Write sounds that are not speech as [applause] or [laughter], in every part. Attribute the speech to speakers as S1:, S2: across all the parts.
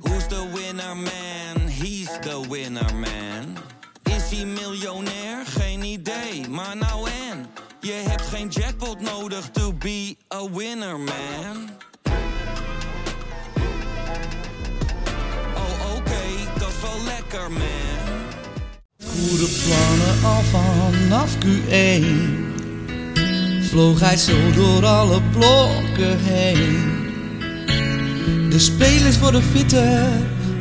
S1: Who's the winner man? He's the winner man. Is hij miljonair? Geen idee, maar nou en. Je hebt geen jackpot nodig to be a winner man. Oh oké, dat is wel lekker man.
S2: Goede plannen al vanaf Q1 Vloog hij zo door alle blokken heen De spelers worden fitter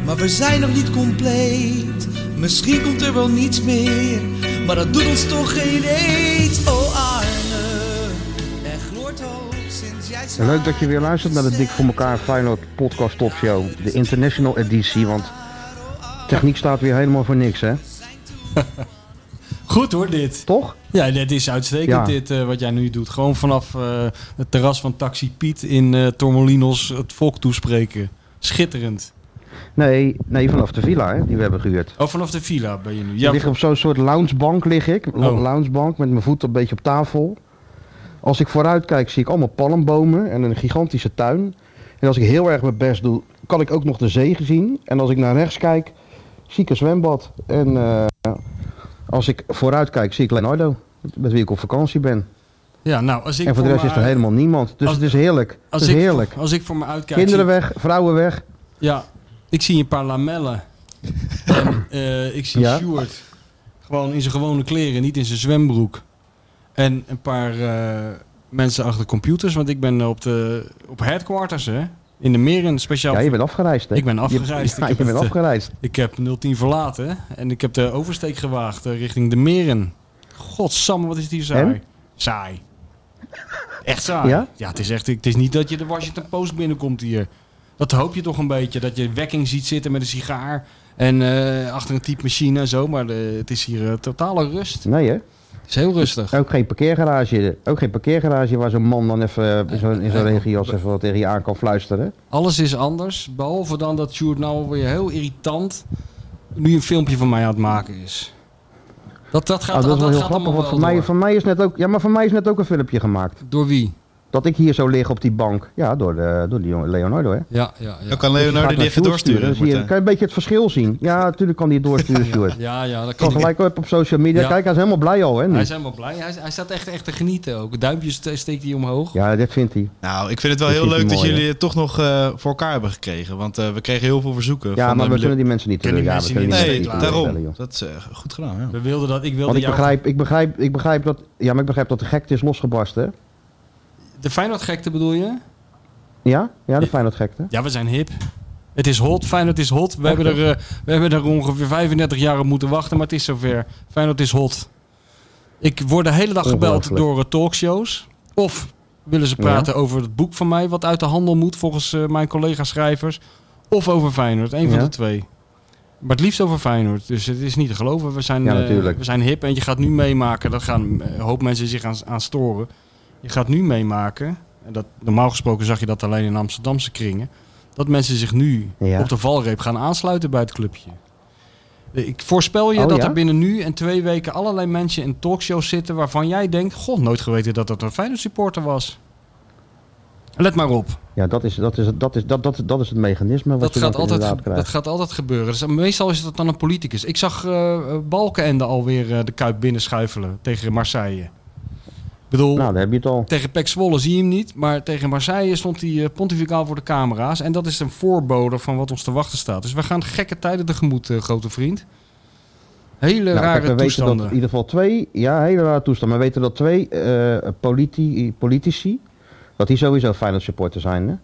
S2: Maar we zijn nog niet compleet Misschien komt er wel niets meer Maar dat doet ons toch geen eet Oh Arne Er gloort hoop sinds jij
S3: En Leuk dat je weer luistert naar de Dik voor elkaar Feyenoord Podcast Top Show. De international editie, want techniek staat weer helemaal voor niks, hè?
S4: Goed hoor, dit.
S3: Toch?
S4: Ja, dit is uitstekend,
S3: Ja.
S4: dit, eh, wat jij nu doet. Gewoon vanaf eh, het terras van Taxi Piet in eh Tormolinos het volk toespreken. Schitterend.
S3: Nee, nee, vanaf de villa, hè, die we hebben gehuurd.
S4: Oh, vanaf de villa ben je nu.
S3: ik
S4: Ja,
S3: lig op zo'n soort loungebank, lig ik. Lo-
S4: Oh.
S3: Loungebank, met mijn voeten een beetje op tafel. Als ik vooruit kijk, zie ik allemaal palmbomen en een gigantische tuin. En als ik heel erg mijn best doe, kan ik ook nog de zee zien. En als ik naar rechts kijk, zie ik een zwembad. En eh, als ik vooruit kijk, zie ik Leonardo, met wie ik op vakantie ben.
S4: ja nou, als ik
S3: en voor de rest is er
S4: mijn-
S3: helemaal niemand. Dus
S4: als-
S3: het is heerlijk. Het
S4: als
S3: is
S4: ik,
S3: heerlijk.
S4: Als ik voor me uitkijk...
S3: Kinderen weg, vrouwen weg.
S4: zie- ja, ik zie een paar lamellen. en, eh, ik zie
S3: Ja.
S4: Stuart. Gewoon in zijn gewone kleren, niet in zijn zwembroek. En een paar eh, mensen achter computers. Want ik ben op, de, op headquarters, hè. In de meren, speciaal
S3: Ja, je bent afgereisd, hè?
S4: Ik ben
S3: Je-
S4: afgereisd.
S3: Ja,
S4: Ik heb [laughs]
S3: je bent
S4: het, eh,
S3: afgereisd.
S4: Ik heb 010 verlaten en ik heb de oversteek gewaagd eh, richting de meren. Godsamme, wat is het hier saai.
S3: En?
S4: Saai. Echt saai.
S3: Ja?
S4: het, is echt, het is niet dat je de Washington Post binnenkomt hier. Dat hoop je toch een beetje. Dat je wekking ziet zitten met een sigaar en eh, achter een typemachine en zo. Maar eh, het is hier eh, totale rust.
S3: Nee, hè?
S4: Het is heel rustig.
S3: Ook geen parkeergarage. Ook geen parkeergarage waar zo'n man dan even in zo'n in zo'n
S4: nee.
S3: regenjas even wat tegen je aan kan fluisteren. Ah,
S4: Alles is anders. Behalve dan dat Sjoerd nou weer heel irritant nu een filmpje van mij aan het maken is. Dat, dat gaat,
S3: Ah, dat is wel heel
S4: gaat
S3: grappig,
S4: allemaal
S3: want van
S4: wel
S3: mij,
S4: door.
S3: van, mij is net ook, ja, maar van mij is net ook een filmpje gemaakt.
S4: Door wie?
S3: Dat ik hier zo lig op die bank. Ja, door, de, door die jongen Leonardo, hè?
S4: Ja, ja, ja.
S5: Dan kan
S3: Dus je gaat
S5: Leonardo
S3: naar
S5: dit even
S3: Sjoerd sturen,
S5: doorsturen.
S3: dan zie je-
S5: Martijn.
S4: eh.
S3: kan je een beetje het verschil zien. Ja, natuurlijk kan hij het
S4: [laughs]
S3: doorsturen, Stuart.
S4: Ja, ja, dat
S3: Kan
S4: kan ik.
S3: gelijk op, op social media.
S4: Ja.
S3: Kijk, hij is helemaal blij al, hè?
S4: Hij
S3: Nu.
S4: is helemaal blij. Hij, hij staat echt, echt te genieten ook. Duimpjes ste- steekt hij omhoog.
S3: Ja, dit vindt hij.
S5: Nou, ik vind het wel
S3: Dat
S5: heel
S3: vind ik
S5: leuk dat
S3: mooi,
S5: jullie het toch nog eh, voor elkaar hebben gekregen. Want eh, we kregen heel veel verzoeken.
S3: Ja,
S5: van,
S3: maar
S5: eh,
S3: we kunnen die mensen niet
S4: Kunnen
S3: terug.
S4: die
S3: Ja, we
S4: mensen
S3: kunnen die
S4: niet
S3: mensen
S5: Nee,
S3: niet teleurstellen, joh.
S5: daarom. Dat is eh, goed gedaan, ja.
S4: We wilden dat. Ik wilde
S3: Want ik
S4: jou-
S3: begrijp, ik, begrijp, ik begrijp dat. Ja, maar ik begrijp dat de gekte is losgebarsten.
S4: De Feyenoord-gekte bedoel je?
S3: Ja? Ja, de Feyenoord gekte.
S4: Ja, we zijn hip. Het is hot. Feyenoord is hot. We, hebben er, eh, we hebben er ongeveer 35 jaar op moeten wachten, maar het is zover. Feyenoord is hot. Ik word de hele dag gebeld
S3: Ongelooflijk.
S4: door eh, talkshows. Of willen ze praten over het boek van mij, wat uit de handel moet volgens eh, mijn collega-schrijvers. Of over Feyenoord. Een van
S3: Ja.
S4: de twee. Maar het liefst over Feyenoord. Dus het is niet te geloven. We zijn,
S3: Ja,
S4: eh,
S3: natuurlijk.
S4: we zijn hip en je gaat nu meemaken. Daar gaan eh, een hoop mensen zich aan, aan storen. Je gaat nu meemaken. En dat, normaal gesproken zag je dat alleen in Amsterdamse kringen. Dat mensen zich nu
S3: Ja.
S4: op de valreep gaan aansluiten bij het clubje. Eh, Ik voorspel je
S3: Oh,
S4: dat
S3: ja?
S4: er binnen nu en twee weken allerlei mensen in talkshows zitten waarvan jij denkt: God, nooit geweten dat dat een Feyenoord supporter was. Let maar op.
S3: Ja, dat is, dat is, dat is, dat, dat, dat is het mechanisme wat
S4: Dat
S3: je
S4: gaat,
S3: dan
S4: altijd,
S3: inderdaad
S4: ge- dat
S3: krijgt.
S4: gaat altijd gebeuren. Dus meestal is dat dan een politicus. Ik zag eh eh, Balkenende alweer eh, de Kuip binnenschuifelen tegen Marseille. Ik bedoel,
S3: Nou, daar heb je het al.
S4: tegen Pek Zwolle zie je hem niet. Maar tegen Marseille stond hij eh, pontificaal voor de camera's. En dat is een voorbode van wat ons te wachten staat. Dus we gaan gekke tijden tegemoet, eh, grote vriend. Hele
S3: Nou, kijk,
S4: rare
S3: we weten dat
S4: toestanden.
S3: in ieder geval twee, ja, hele rare toestanden. We weten dat twee eh, politi- politici, dat die sowieso Feyenoord supporter zijn, hè?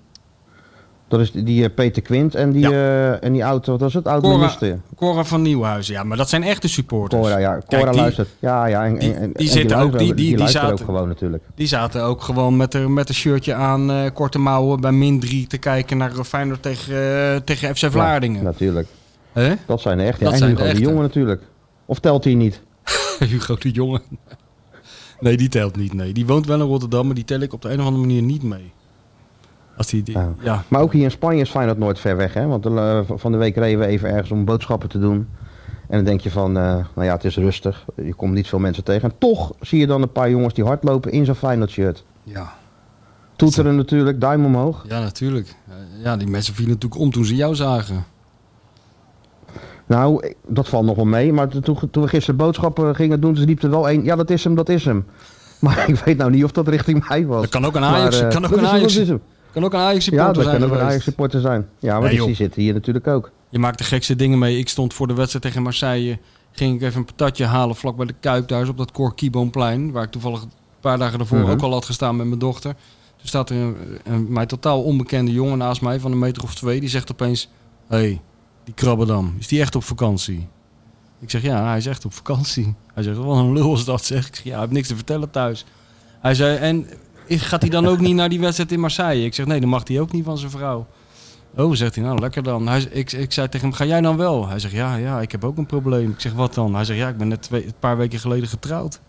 S3: Dat is die, die, eh, Peter Quint en die,
S4: Ja.
S3: eh, en die oud, wat was het, oud
S4: Cora-
S3: minister.
S4: Cora van Nieuwhuizen. Ja, maar dat zijn echte supporters.
S3: Cora, ja, Cora
S4: Kijk, die-
S3: luistert. Ja, ja, en, en-
S4: die-
S3: en-
S4: die
S3: en
S4: zitten ook-
S3: luisteren
S4: die- die- die
S3: luisteren
S4: zaten-
S3: ook gewoon natuurlijk.
S4: Die zaten ook gewoon met een met een shirtje aan, eh, korte mouwen, bij min 3 te kijken naar eh, Feyenoord tegen, eh, tegen FC Vlaardingen.
S3: Ja, natuurlijk.
S4: Hè? [laughs]
S3: Dat zijn de echte.
S4: Dat
S3: en
S4: zijn
S3: Hugo
S4: de
S3: de,
S4: echte.
S3: Jonge natuurlijk. Of telt hij niet?
S4: Hugo de Jonge. Nee, die telt niet. Nee. Die woont wel in Rotterdam, maar die tel ik op de een of andere manier niet mee. Als die, die-
S3: Ja.
S4: ja.
S3: Maar ook hier in Spanje is Feyenoord nooit ver weg. Hè? Want eh, van de week reden we even ergens om boodschappen te doen. En dan denk je van, eh, nou ja, het is rustig. Je komt niet veel mensen tegen. En toch zie je dan een paar jongens die hardlopen in zo'n Feyenoord shirt.
S4: ja.
S3: Toeteren natuurlijk, duim omhoog.
S4: Ja, natuurlijk. Eh, Ja, die mensen vielen natuurlijk om toen ze jou zagen.
S3: Nou, ik- dat valt nog wel mee. Maar toen, toen we gisteren boodschappen gingen doen, dus liep er wel één. Ja, dat is hem, dat is hem. [laughs] Maar ik weet nou niet of dat richting mij was.
S4: Dat kan ook een
S3: Maar,
S4: Ajax,
S3: eh,
S4: kan ook
S3: dat
S4: een
S3: is hem,
S4: Ajax,
S3: dat is hem.
S4: kan ook een Ajax
S3: Ja,
S4: supporter
S3: dat
S4: zijn
S3: kan ook een
S4: geweest.
S3: Ajax supporter zijn. Ja, maar
S4: Nee,
S3: die-
S4: joh.
S3: die zitten hier natuurlijk ook.
S4: Je maakt de gekste dingen mee. Ik stond voor de wedstrijd tegen Marseille. Ging ik even een patatje halen vlak bij de Kuip thuis op dat Corquibonplein. Waar ik toevallig een paar dagen daarvoor
S3: Mhm.
S4: ook al had gestaan met mijn dochter. Toen staat er een, een mij totaal onbekende jongen naast mij van een meter of twee. Die zegt opeens, hé, hey, die Krabbedam, is die echt op vakantie? Ik zeg, ja, hij is echt op vakantie. Hij zegt, wat een lul is dat zeg. Ik zeg, ja, hij heeft niks te vertellen thuis. Hij zei, en gaat hij dan ook niet naar die wedstrijd in Marseille? Ik zeg, nee, dan mag hij ook niet van zijn vrouw. Oh, zegt hij, nou lekker dan. Hij, z- ik, ik zei tegen hem, ga jij dan wel? Hij zegt, ja, ja, ik heb ook een probleem. Ik zeg, wat dan? Hij zegt, ja, ik ben net twee, een paar weken geleden getrouwd.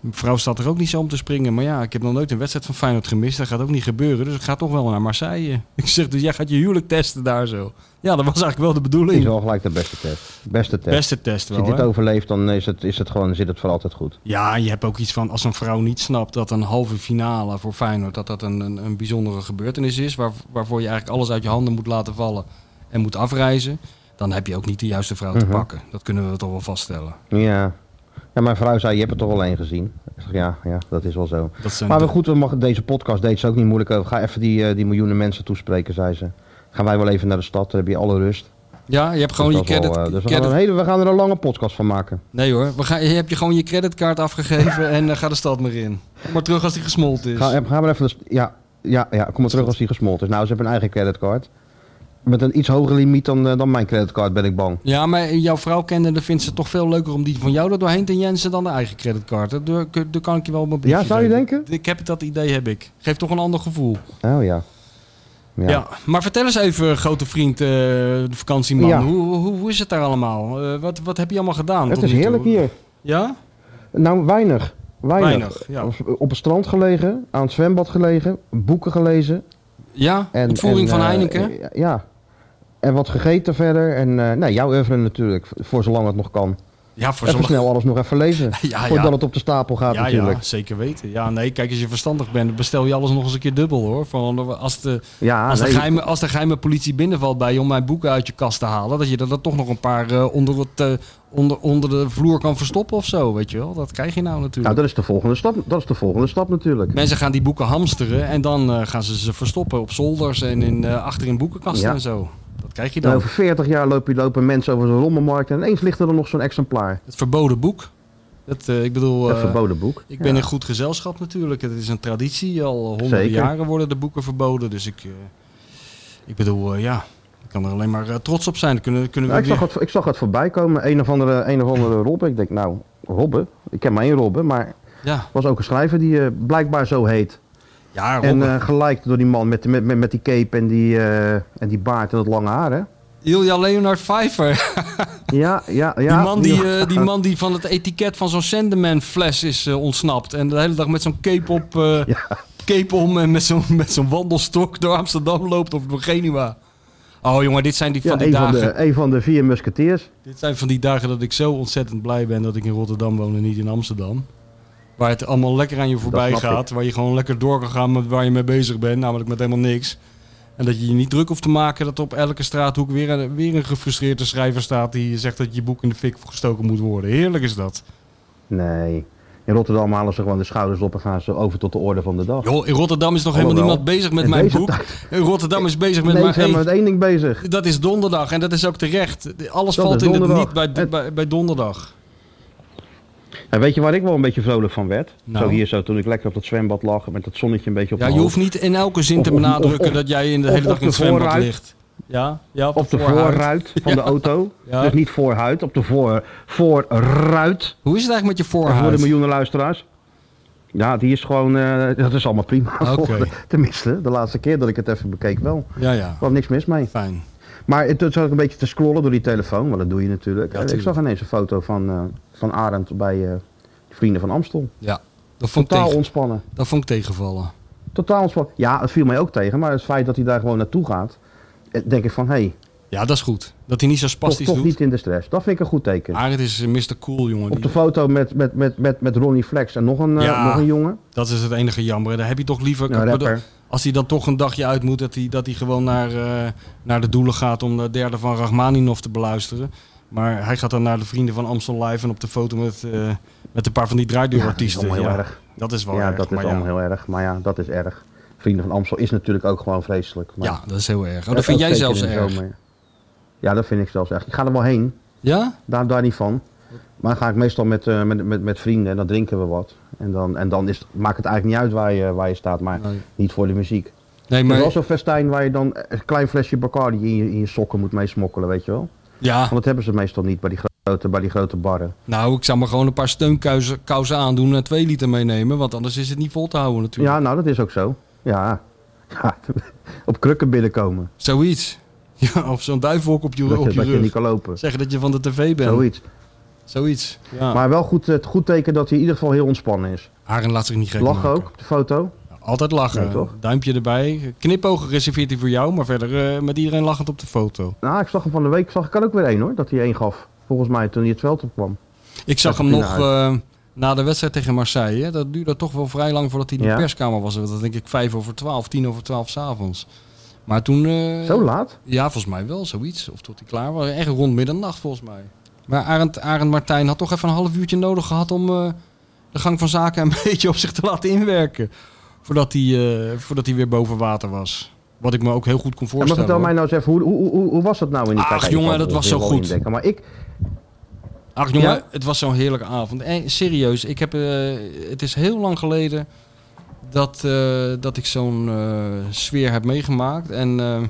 S4: Mijn vrouw staat er ook niet zo om te springen. Maar ja, ik heb nog nooit een wedstrijd van Feyenoord gemist. Dat gaat ook niet gebeuren, dus ik ga toch wel naar Marseille. [laughs] Ik zeg, dus jij gaat je huwelijk testen daar zo. Ja, dat was eigenlijk wel de
S3: Die is
S4: bedoeling.
S3: wel gelijk de beste test. Beste test.
S4: Beste test wel,
S3: Als je dit
S4: hè?
S3: overleeft, dan is het, is het gewoon, zit het voor altijd goed.
S4: Ja, je hebt ook iets van als een vrouw niet snapt dat een halve finale voor Feyenoord dat dat een, een, een bijzondere gebeurtenis is, waar, waarvoor je eigenlijk alles uit je handen moet laten vallen en moet afreizen, dan heb je ook niet de juiste vrouw te
S3: Mhm.
S4: pakken. Dat kunnen we toch wel vaststellen.
S3: Ja. ja, mijn vrouw zei, je hebt er toch wel één gezien? Ik zeg, ja, ja, dat is wel zo.
S4: Dat zijn
S3: Maar
S4: de-
S3: wel goed, we mag, deze podcast deed ze ook niet moeilijk over. Ga even die, eh, die miljoenen mensen toespreken, zei ze. Gaan wij wel even naar de stad, dan heb je alle rust.
S4: ja, je hebt gewoon je
S3: Dus dat is wel,
S4: credit.
S3: eh, dus we gaan,
S4: credit-
S3: er een hele, we gaan er een lange podcast van maken.
S4: Nee hoor, we gaan, je hebt je gewoon je creditkaart afgegeven en eh, ga de stad maar in. Kom maar terug als die gesmolten is.
S3: Ga, eh, ga maar even... de st- Ja, ja, ja, kom maar terug als die gesmolten is. Nou, ze hebben een eigen creditcard. Met een iets hogere limiet dan, eh, dan mijn creditcard, ben ik bang.
S4: Ja, maar jouw vrouw kende, dan vindt ze het toch veel leuker om die van jou er doorheen te jensen dan de eigen creditcard. Daar- Daar daar kan ik je wel op mijn briefje
S3: Ja, zou je
S4: geven.
S3: denken?
S4: Ik heb dat idee, heb ik. Geeft toch een ander gevoel.
S3: Oh ja.
S4: Ja. maar vertel eens even, grote vriend, eh, de vakantieman.
S3: Ja.
S4: Hoe, hoe, hoe is het daar allemaal? Eh, wat, wat heb je allemaal gedaan?
S3: Het
S4: tot
S3: is
S4: nu toe?
S3: heerlijk hier.
S4: Ja?
S3: Nou, weinig. Weinig.
S4: Weinig, ja.
S3: Op het strand gelegen, aan het zwembad gelegen, boeken gelezen.
S4: Ja?
S3: En,
S4: Ontvoering
S3: en,
S4: van
S3: eh,
S4: Heineken?
S3: eh, ja. En wat gegeten verder. En eh, nou, jouw oeuvre natuurlijk, v- voor zolang het nog kan.
S4: ja,
S3: even
S4: voor sommige-
S3: snel alles nog even lezen.
S4: [laughs] Ja,
S3: voordat
S4: ja.
S3: het op de stapel gaat
S4: ja,
S3: natuurlijk.
S4: ja, zeker weten. Ja, nee, kijk, als je verstandig bent, bestel je alles nog eens een keer dubbel, hoor. Van, als, eh, de,
S3: Ja,
S4: als,
S3: Ah, nee.
S4: de geheime, als de geheime politie binnenvalt bij je om mijn boeken uit je kast te halen... dat je er dan toch nog een paar eh, onder, het, eh, onder, onder de vloer kan verstoppen of zo, weet je wel. Dat krijg je nou natuurlijk.
S3: Nou, dat is, de volgende stap. dat is de volgende stap natuurlijk.
S4: Mensen gaan die boeken hamsteren en dan eh, gaan ze ze verstoppen op zolders en in, eh, achter in boekenkasten
S3: Ja.
S4: en zo. Dat krijg je
S3: En
S4: dan.
S3: Nou, over 40 jaar lopen, lopen mensen over zo'n rommelmarkt en ineens ligt er dan nog zo'n exemplaar.
S4: Het verboden boek. Dat, eh, ik bedoel,
S3: Een
S4: eh,
S3: verboden boek.
S4: ik ben
S3: Ja.
S4: in goed gezelschap natuurlijk. Het is een traditie. Al honderden
S3: Zeker.
S4: jaren worden de boeken verboden. Dus ik, eh, ik bedoel, eh, ja, ik kan er alleen maar eh, trots op zijn. Dan Kunnen, kunnen we
S3: Nou, ik, zag
S4: weer...
S3: het, ik zag het voorbij komen, een of andere, een of andere Robben. Ik denk, nou, Robben? Ik ken maar één Robben, maar
S4: Ja,
S3: was ook een schrijver die eh, blijkbaar zo heet.
S4: ja
S3: En
S4: Robben.
S3: eh gelijk door die man met, met, met, met die cape en die, eh, en die baard en dat lange haar, hè?
S4: Ilja Leonard Pfeiffer.
S3: Ja, ja, ja.
S4: die, man die, eh, die man die van het etiket van zo'n Sandeman fles is eh, ontsnapt. En de hele dag met zo'n cape op. eh, Cape om en met zo'n met zo'n wandelstok door Amsterdam loopt of door Genua. Oh jongen, dit zijn, die,
S3: Ja,
S4: van die
S3: een,
S4: dagen,
S3: van de, een van de vier musketeers.
S4: dit zijn van die dagen dat ik zo ontzettend blij ben dat ik in Rotterdam woon en niet in Amsterdam. Waar het allemaal lekker aan je voorbij
S3: snap
S4: gaat. Waar je gewoon lekker door kan gaan met waar je mee bezig bent. Namelijk met helemaal niks. En dat je je niet druk hoeft te maken dat er op elke straathoek weer een, weer een gefrustreerde schrijver staat. die zegt dat je boek in de fik gestoken moet worden. Heerlijk is dat.
S3: Nee. In Rotterdam halen ze gewoon de schouders op en gaan ze over tot de orde van de dag.
S4: Joh, in Rotterdam is nog
S3: Allemaal
S4: helemaal niemand
S3: wel.
S4: bezig met
S3: In
S4: mijn
S3: deze
S4: boek. In Rotterdam is bezig met
S3: nee,
S4: mijn
S3: ze zijn maar met één ding bezig.
S4: Dat is donderdag en dat is ook terecht. Alles
S3: Dat
S4: valt
S3: is
S4: in het
S3: donderdag.
S4: niet bij,
S3: Het-
S4: bij, bij donderdag.
S3: En Nou, weet je waar ik wel een beetje vrolijk van werd?
S4: Nou.
S3: Zo hier zo, toen ik lekker op dat zwembad lag met dat zonnetje een beetje op
S4: Ja,
S3: mijn
S4: je
S3: hoofd.
S4: hoeft niet in elke zin
S3: Of-
S4: te
S3: of-
S4: benadrukken
S3: of- of-
S4: dat jij in de
S3: of
S4: hele dag
S3: op
S4: in het
S3: de
S4: zwembad
S3: voorruit.
S4: ligt. Ja, ja op,
S3: Op de
S4: voorruit.
S3: voorruit van de auto.
S4: [laughs] Ja.
S3: Dus niet voorhuid, op de voor, voorruit.
S4: Hoe is het eigenlijk met je
S3: En Voor de
S4: voorruit?
S3: miljoenen luisteraars. Ja, die is gewoon, eh, dat is allemaal prima. [laughs]
S4: Oké.
S3: Tenminste, de laatste keer dat ik het even bekeek wel. Er
S4: Ja, ja.
S3: was niks mis mee.
S4: Fijn.
S3: Maar het- toen zat ik een beetje te scrollen door die telefoon, want dat doe je natuurlijk.
S4: Ja,
S3: En ik
S4: tuurlijk.
S3: zag ineens een foto van, eh, van Arend bij eh, de Vrienden van Amstel.
S4: Ja. Dat vond, ik
S3: Totaal
S4: tegen-
S3: ontspannen.
S4: dat vond ik tegenvallen.
S3: Totaal ontspannen. Ja, het viel mij ook tegen, maar het feit dat hij daar gewoon naartoe gaat, eh, denk ik van, hé, hey,
S4: Ja, dat is goed. Dat hij niet zo
S3: Toch,
S4: spastisch
S3: toch
S4: doet.
S3: niet in de stress. Dat vind ik een goed teken.
S4: Arend is een Mr. Cool, jongen.
S3: Op de
S4: Die-
S3: foto met, met, met, met, met Ronnie Flex en nog een, eh,
S4: Ja.
S3: nog een jongen.
S4: dat is het enige jammer. Daar heb je toch liever...
S3: Een
S4: Ik bedoel,
S3: rapper.
S4: als hij dan toch een dagje uit moet, dat hij, dat hij gewoon naar, eh, naar de doelen gaat om de derde van Rachmaninov te beluisteren. Maar hij gaat dan naar de vrienden van Amstel Live en op de foto met, eh, met een paar van die draaideurartiesten.
S3: Ja, dat is allemaal heel
S4: Ja,
S3: erg.
S4: dat is wel
S3: ja,
S4: erg.
S3: dat is
S4: maar ja.
S3: allemaal heel erg. Maar ja, dat is erg. Vrienden van Amstel is natuurlijk ook gewoon vreselijk. Maar
S4: Ja, dat is heel erg. Oh, dat vind
S3: ook
S4: jij
S3: zeker
S4: zelfs
S3: in de
S4: erg.
S3: zomer. Ja, dat vind ik zelfs erg. Ik ga er wel heen.
S4: Ja?
S3: Daar, daar niet van. Maar dan ga ik meestal met, eh, met, met, met vrienden en dan drinken we wat. En dan, en dan is, maakt het eigenlijk niet uit waar je, waar je staat, maar
S4: Nee.
S3: niet voor de muziek.
S4: Nee,
S3: Maar... Er is
S4: maar...
S3: wel zo'n festijn waar je dan een klein flesje Bacardi in je, in je sokken moet meesmokkelen, weet je wel.
S4: Ja,
S3: Want dat hebben ze meestal niet bij die grote, bij die grote barren.
S4: nou, ik zou maar gewoon een paar steunkousen kousen aandoen en twee liter meenemen. Want anders is het niet vol te houden natuurlijk.
S3: Ja, nou dat is ook zo. Ja, ja [laughs] op krukken binnenkomen.
S4: Zoiets. [laughs] Ja, of zo'n duivelhok op je,
S3: Dat,
S4: op
S3: je-
S4: je
S3: dat je niet
S4: rug.
S3: kan lopen.
S4: Zeggen dat je van de tv bent. Zoiets.
S3: Zoiets.
S4: Ja. Maar...
S3: Maar wel goed, het goed teken dat hij in ieder geval heel ontspannen is.
S4: Arend laat zich niet gek
S3: Lachen
S4: maken.
S3: ook, op de foto.
S4: Altijd lachen.
S3: Ja, toch?
S4: Duimpje erbij. Knipogen reserveert hij voor jou, maar verder eh, met iedereen lachend op de foto.
S3: Nou, ik zag hem van de week, zag ik er ook weer één hoor, dat hij één gaf. Volgens mij toen hij het veld op kwam.
S4: Ik zag
S3: Zet
S4: hem
S3: het
S4: nog
S3: in
S4: eh, na de wedstrijd tegen Marseille. hè. Dat duurde toch wel vrij lang voordat hij in de
S3: Ja.
S4: perskamer was. Dat was denk ik vijf over twaalf, tien over twaalf s'avonds. Maar toen... eh,
S3: Zo laat?
S4: Ja, volgens mij wel, zoiets. Of tot hij klaar was. Echt rond middernacht, volgens mij. Maar Arend, Arend Martijn had toch even een half uurtje nodig gehad om eh, de gang van zaken een [laughs] beetje op zich te laten inwerken. Voordat hij, eh, voordat hij weer boven water was. Wat ik me ook heel goed kon
S3: Ja, maar
S4: voorstellen.
S3: vertel mij nou eens even, hoe, hoe, hoe, hoe was dat nou in die
S4: Ach,
S3: tijd?
S4: jongen,
S3: Ik kan
S4: dat
S3: er
S4: was zo
S3: wel
S4: goed.
S3: indenken, Maar ik,
S4: Ach jongen,
S3: Ja.
S4: het was zo'n heerlijke avond. En serieus, ik heb, eh, het is heel lang geleden dat, eh, dat ik zo'n eh, sfeer heb meegemaakt. En eh,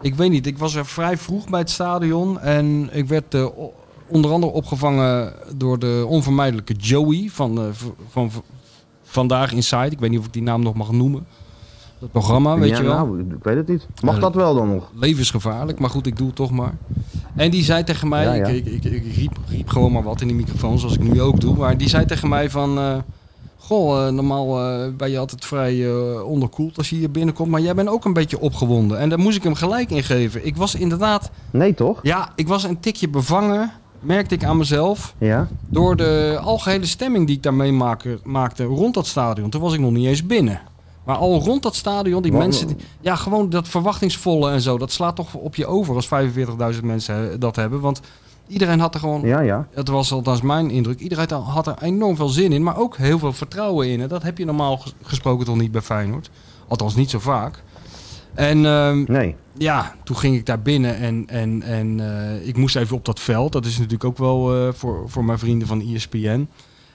S4: ik weet niet, ik was er vrij vroeg bij het stadion. En ik werd eh, o- onder andere opgevangen door de onvermijdelijke Joey van, eh, v- van, v- Vandaag Inside. Ik weet niet of ik die naam nog mag noemen. Dat programma, weet
S3: ja,
S4: je wel.
S3: nou, ik weet het niet. Mag
S4: Ja.
S3: dat wel dan nog?
S4: levensgevaarlijk, maar goed, ik doe het toch maar. En die zei tegen mij,
S3: Ja, ja.
S4: ik, ik, ik, ik riep, riep gewoon maar wat in die microfoon, zoals ik nu ook doe. Maar die zei tegen mij van, eh, goh, eh, normaal eh, ben je altijd vrij eh, onderkoeld als je hier binnenkomt. Maar jij bent ook een beetje opgewonden. En daar moest ik hem gelijk in geven. Ik was inderdaad,
S3: Nee toch?
S4: ja, ik was een tikje bevangen, merkte ik aan mezelf.
S3: Ja?
S4: Door de algehele stemming die ik daar mee maakte, maakte rond dat stadion. Toen was ik nog niet eens binnen. Maar al rond dat stadion, die
S3: Wat-
S4: mensen... die- ja, gewoon dat verwachtingsvolle en zo. Dat slaat toch op je over als 45.000 mensen eh, dat hebben. Want iedereen had er gewoon...
S3: Ja, ja.
S4: Het was althans mijn indruk. Iedereen had er enorm veel zin in. Maar ook heel veel vertrouwen in. En dat heb je normaal ges- gesproken toch niet bij Feyenoord. Althans niet zo vaak. En ehm,
S3: Nee.
S4: ja, toen ging ik daar binnen en, en, en eh, ik moest even op dat veld. Dat is natuurlijk ook wel eh, voor, voor mijn vrienden van E ESPN.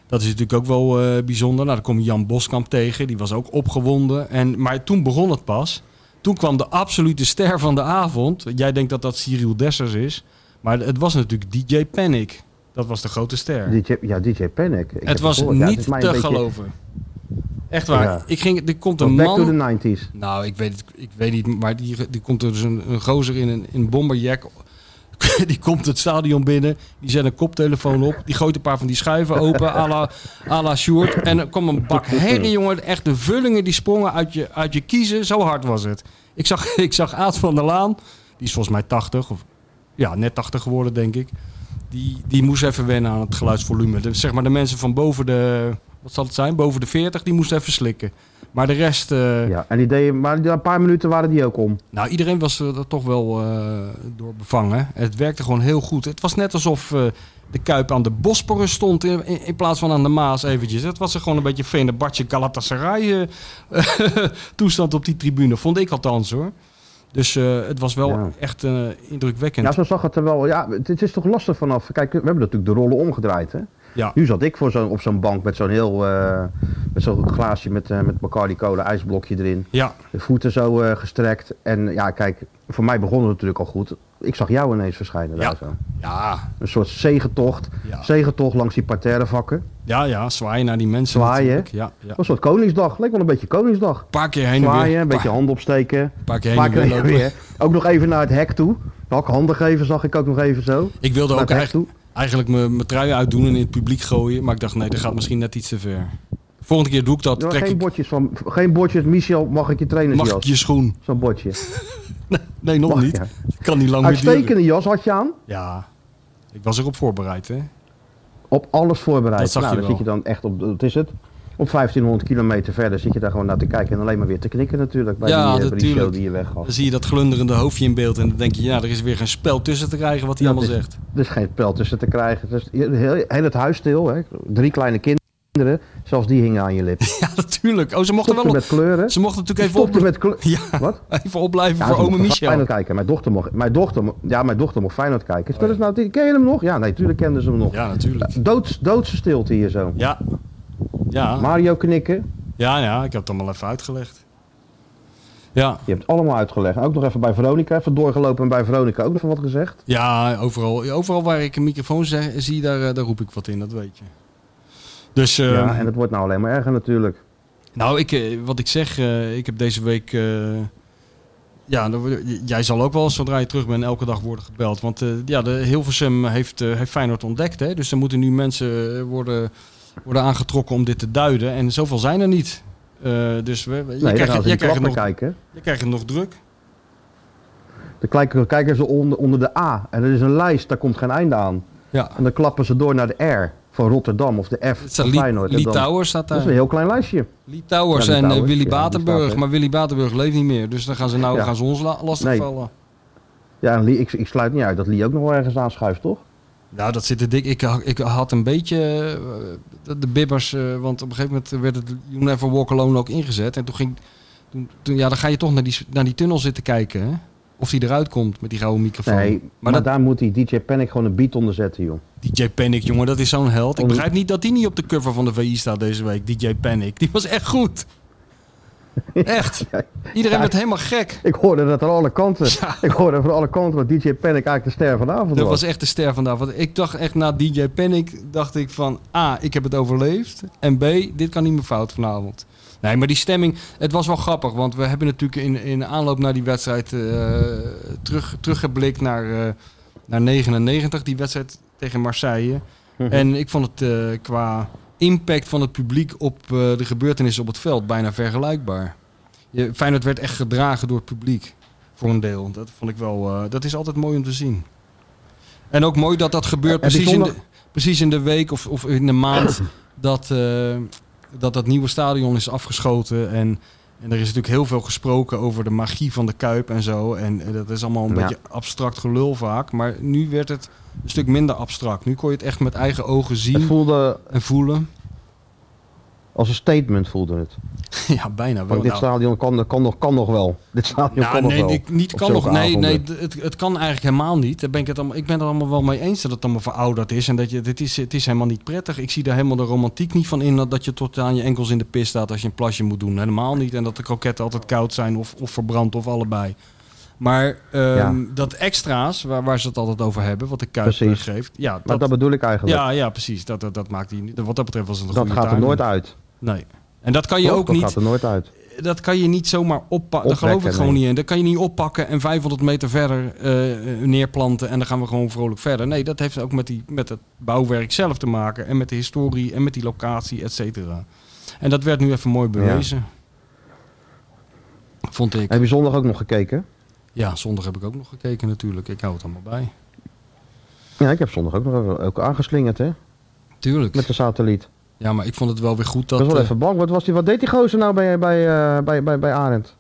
S4: Dat is natuurlijk ook wel eh, bijzonder. Nou, daar kom je Jan Boskamp tegen. Die was ook opgewonden. En, maar toen begon het pas. Toen kwam de absolute ster van de avond. Jij denkt dat dat Cyril Dessers is. Maar het was natuurlijk DJ Panic. Dat was de grote ster.
S3: DJ, ja, DJ Panic. Ik heb
S4: het was
S3: gehoord. Ja, het
S4: niet
S3: is mij een
S4: te
S3: beetje-
S4: geloven. Echt waar.
S3: Ja.
S4: Ik ging, er komt een
S3: Back
S4: man...
S3: to the 90s.
S4: Nou, ik weet, het, ik weet niet, maar die, die komt er dus een, een gozer in een, in een bomberjack. [laughs] Die komt het stadion binnen, die zet een koptelefoon op, die gooit een paar van die schuiven open, à la, à la Sjoerd. En er kwam een bak herrie, jongen. Echt de vullingen die sprongen uit je, uit je kiezen, zo hard was het. Ik zag, [laughs] ik zag Aad van der Laan, die is volgens mij 80, of ja, net 80 geworden, denk ik. Die, die moest even wennen aan het geluidsvolume. De, zeg maar de mensen van boven de, wat zal het zijn, boven de 40, die moesten even slikken. Maar de rest, eh,
S3: Ja, en die deden, maar na een paar minuten waren die ook om.
S4: nou, iedereen was er toch wel eh, door bevangen. Het werkte gewoon heel goed. Het was net alsof eh, de Kuip aan de Bosporus stond in, in, in plaats van aan de Maas eventjes. Het was er gewoon een beetje Fenerbahce Galatasaray eh, [laughs] toestand op die tribune. Vond ik althans hoor. Dus eh, het was wel
S3: Ja.
S4: echt eh, indrukwekkend.
S3: Ja, zo zag het er wel. Ja, het, het is toch lastig vanaf. Kijk, we hebben natuurlijk de rollen omgedraaid. Hè?
S4: Ja.
S3: Nu zat ik voor zo'n op zo'n bank met zo'n heel. eh, met zo'n glaasje met, eh, met Bacardi Cola, ijsblokje erin.
S4: ja,
S3: De voeten zo eh, gestrekt. En ja, kijk, voor mij begon het natuurlijk al goed. Ik zag jou ineens verschijnen daar zo.
S4: ja,
S3: Een soort zegentocht.
S4: Ja.
S3: Zegentocht langs die parterrevakken.
S4: ja, ja, zwaaien naar die mensen.
S3: Zwaaien.
S4: natuurlijk. Ja, ja.
S3: Een soort Koningsdag. Leek wel een beetje Koningsdag.
S4: Een paar keer heen en
S3: Zwaaien,
S4: weer.
S3: een beetje
S4: paar,
S3: hand opsteken.
S4: paar keer heen
S3: Maar
S4: en weer
S3: ik
S4: lopen.
S3: weer. Ook nog even naar het hek toe. Hak handen geven zag ik ook nog even zo.
S4: Ik wilde
S3: Naar
S4: ook
S3: het hek
S4: eigenlijk, eigenlijk mijn mijn trui uitdoen en in het publiek gooien. Maar ik dacht, nee, dat gaat misschien net iets te ver. Volgende keer doe ik dat.
S3: Er waren
S4: trek
S3: geen
S4: ik,
S3: bordjes van, geen bordjes. Michel, mag ik je
S4: mag
S3: trainersjas?
S4: ik je schoen? [laughs]
S3: Zo'n bordje.
S4: Nee, nog
S3: Mag,
S4: niet.
S3: ja.
S4: kan niet lang meer duren.
S3: Uitstekende jas had je aan.
S4: Ja, ik was erop voorbereid, hè.
S3: Op alles voorbereid.
S4: Dat zag
S3: nou,
S4: je
S3: dan
S4: wel.
S3: zit je dan echt op, wat is het? Op 1500 kilometer verder zit je daar gewoon naar te kijken en alleen maar weer te knikken natuurlijk. Bij,
S4: Ja,
S3: die, eh, bij die show
S4: natuurlijk.
S3: die je weggaf.
S4: Dan zie je dat glunderende hoofdje in beeld en dan denk je, ja, er is weer geen spel tussen te krijgen wat hij
S3: Ja,
S4: allemaal
S3: dit-
S4: zegt. [laughs]
S3: Er is geen pijl tussen te krijgen. Dus heel, heel het huis stil. Hè? Drie kleine kinderen, zelfs die hingen aan je lip.
S4: Ja, natuurlijk. Oh, ze mochten
S3: Stopte
S4: wel...
S3: met kleuren.
S4: Ze mochten natuurlijk even,
S3: Stopte
S4: op,
S3: met kleuren.
S4: Ja.
S3: Wat?
S4: even opblijven
S3: Ja,
S4: voor
S3: ze
S4: ome
S3: mochten
S4: Michel.
S3: Feyenoord kijken. Mijn dochter mocht, mijn dochter, mo- ja, mijn dochter mocht Feyenoord kijken. Spelen ze nou, tegen- ken je hem nog? Ja, nee, tuurlijk kenden ze hem nog.
S4: Oh, Ja, natuurlijk.
S3: Doods, doodse stilte hier zo.
S4: Ja. Ja.
S3: Mario knikken.
S4: ja, ja, ik heb het allemaal even uitgelegd. Ja,
S3: Je hebt het allemaal uitgelegd. Ook nog even bij Veronica. Even doorgelopen en bij Veronica ook nog van wat gezegd.
S4: ja overal, overal waar ik een microfoon ze- zie, daar, eh, daar roep ik wat in, dat weet je. Dus, eh,
S3: ja, en het wordt nou alleen maar erger natuurlijk.
S4: nou, ik, eh, wat ik zeg, eh, ik heb deze week... eh, ja, dan word- j- jij zal ook wel eens, zodra je terug bent, elke dag worden gebeld. Want eh ja, de Hilversum heeft, eh, heeft Feyenoord ontdekt, hè. Dus er moeten nu mensen eh, worden, worden aangetrokken om dit te duiden. En zoveel zijn er niet. Eh, dus we, je,
S3: Nee, daar
S4: krijgt,
S3: gaan
S4: het-
S3: ze
S4: je,
S3: niet
S4: krijgt
S3: klap
S4: het
S3: naar
S4: nog,
S3: kijken.
S4: je krijgt het nog druk.
S3: Dan kijken, kijken ze onder, onder de A. En er is een lijst, daar komt geen einde aan.
S4: Ja.
S3: En dan klappen ze door naar de R van Rotterdam of de F
S4: Het
S3: van
S4: staat Lee,
S3: Feyenoord. En
S4: Lee
S3: dan-
S4: Towers staat
S3: dat is een
S4: daar.
S3: heel klein lijstje.
S4: Lee Towers
S3: Ja, Lee
S4: en eh,
S3: Towers.
S4: Willy
S3: Ja, die
S4: Batenburg.
S3: staat er.
S4: maar Willy Batenburg leeft niet meer. Dus dan gaan ze, nou,
S3: Ja.
S4: gaan ze ons la- lastigvallen.
S3: Ja, en Lee, ik, ik sluit niet uit dat Lee ook nog wel ergens aanschuift, toch?
S4: Nou, dat zit er dik. Ik, ha- ik had een beetje eh, de- de bibbers. eh, want op een gegeven moment werd het You Never Walk Alone ook ingezet. En toen ging... Toen, toen- ja, dan ga je toch naar die, s- naar die tunnel zitten kijken. Hè? Of die eruit komt met die gouden microfoon.
S3: Nee, maar,
S4: maar dat,
S3: daar moet die DJ Panic gewoon een beat onder zetten, joh.
S4: DJ Panic, jongen, dat is zo'n held. Ik
S3: Om-
S4: begrijp niet dat die niet op de cover van de VI staat deze week. DJ Panic. Die was echt
S3: [laughs]
S4: goed. Echt. Iedereen werd helemaal gek.
S3: Ik hoorde dat aan alle kanten.
S4: [laughs] Ja.
S3: Ik hoorde van alle kanten dat DJ Panic eigenlijk de ster vanavond
S4: Dat
S3: was.
S4: was echt de ster vandaag. Want ik dacht echt na DJ Panic, dacht ik van A, ik heb het overleefd. En B, dit kan niet meer fout vanavond. Nee, maar die stemming, het was wel grappig. Want we hebben natuurlijk in, in aanloop naar die wedstrijd eh, terug, teruggeblikt naar, eh, naar 99, die wedstrijd tegen Marseille.
S3: Mhm.
S4: En ik vond het eh, qua impact van het publiek op eh, de gebeurtenissen op het veld bijna vergelijkbaar. Je, Feyenoord werd echt gedragen door het publiek voor een deel. Dat vond ik wel. eh, dat is altijd mooi om te zien. En ook mooi dat dat gebeurt
S3: En
S4: precies, in de,
S3: bijzonder-
S4: precies in de week of, of in de
S3: [clears throat]
S4: maand dat, eh, dat dat nieuwe stadion is afgeschoten. En, en er is natuurlijk heel veel gesproken over de magie van de Kuip en zo. En eh, dat is allemaal een
S3: Ja.
S4: beetje abstract gelul vaak. Maar nu werd het een stuk minder abstract. Nu kon je het echt met eigen ogen zien
S3: Het voelde
S4: en voelen.
S3: als een statement, voelde het.
S4: [laughs] ja, bijna wel.
S3: Want dit
S4: Nou,
S3: stadion kan, kan, nog, kan nog wel. Dit stadion
S4: Nou,
S3: kan nog
S4: nee,
S3: wel.
S4: dit- niet
S3: Op
S4: kan nog.
S3: zulke
S4: Nee, nee
S3: avonden.
S4: d- het, het kan eigenlijk helemaal niet. Daar ben ik, het allemaal, ik ben er allemaal wel mee eens dat het allemaal verouderd is. En dat je, dit is, het is helemaal niet prettig. Ik zie daar helemaal de romantiek niet van in. Dat, dat je tot aan je enkels in de pis staat als je een plasje moet doen. Helemaal niet. En dat de kroketten altijd koud zijn of, of verbrand of allebei. Maar ehm,
S3: Ja.
S4: dat extra's, waar, waar ze het altijd over hebben, wat de Kuip eh,
S3: Precies.
S4: geeft. Ja, dat,
S3: Maar dat bedoel ik eigenlijk.
S4: ja, ja, precies. Dat, dat, dat maakt die, niet- wat dat betreft was het een
S3: dat
S4: goede
S3: gaat er
S4: timing.
S3: nooit uit.
S4: Nee. En dat kan je
S3: Toch?
S4: ook
S3: dat
S4: niet
S3: gaat er nooit uit.
S4: dat kan je niet zomaar oppakken. Daar
S3: Opwekken,
S4: geloof ik gewoon
S3: nee.
S4: niet in. Dat kan je niet oppakken en 500 meter verder eh, neerplanten en dan gaan we gewoon vrolijk verder. Nee, dat heeft ook met, die, met het bouwwerk zelf te maken en met de historie en met die locatie, et cetera. En dat werd nu even mooi bewezen. Vond ik.
S3: Heb je zondag ook nog gekeken?
S4: Ja, zondag heb ik ook nog gekeken natuurlijk. Ik hou het allemaal bij.
S3: Ja, ik heb zondag ook nog even- ook aangeslingerd, hè? Met
S4: Tuurlijk.
S3: de satelliet.
S4: Ja, maar ik vond het wel weer goed dat...
S3: ik was wel
S4: eh,
S3: even bang. Wat, was die, wat deed die gozer nou bij, bij, eh, bij, bij, bij Arend?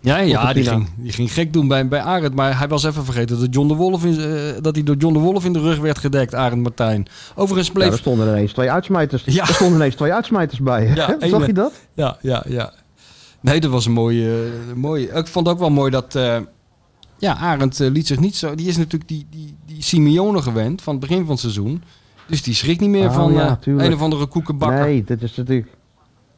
S4: Ja, ja die,
S3: Pina.
S4: ging, die ging gek doen bij, bij Arend. Maar hij was even vergeten dat, John de Wolf in, eh, dat hij door John de Wolf in de rug werd gedekt, Arend Martijn. Overigens
S3: Ja,
S4: bleef...
S3: Nou, er stonden ineens twee uitsmijters.
S4: Ja.
S3: Er stonden ineens twee uitsmijters bij.
S4: Ja,
S3: hè?
S4: één
S3: Zag
S4: met-
S3: je dat?
S4: Ja, ja, ja. Nee, dat was een mooie... eh, mooie. Ik vond het ook wel mooi dat... eh, ja, Arend eh, liet zich niet zo... Die is natuurlijk die, die, die Simeone gewend van het begin van het seizoen. Dus die schrikt niet meer
S3: Oh,
S4: van
S3: ja,
S4: eh,
S3: tuurlijk.
S4: een of andere koekenbakker.
S3: Nee, dit is natuurlijk.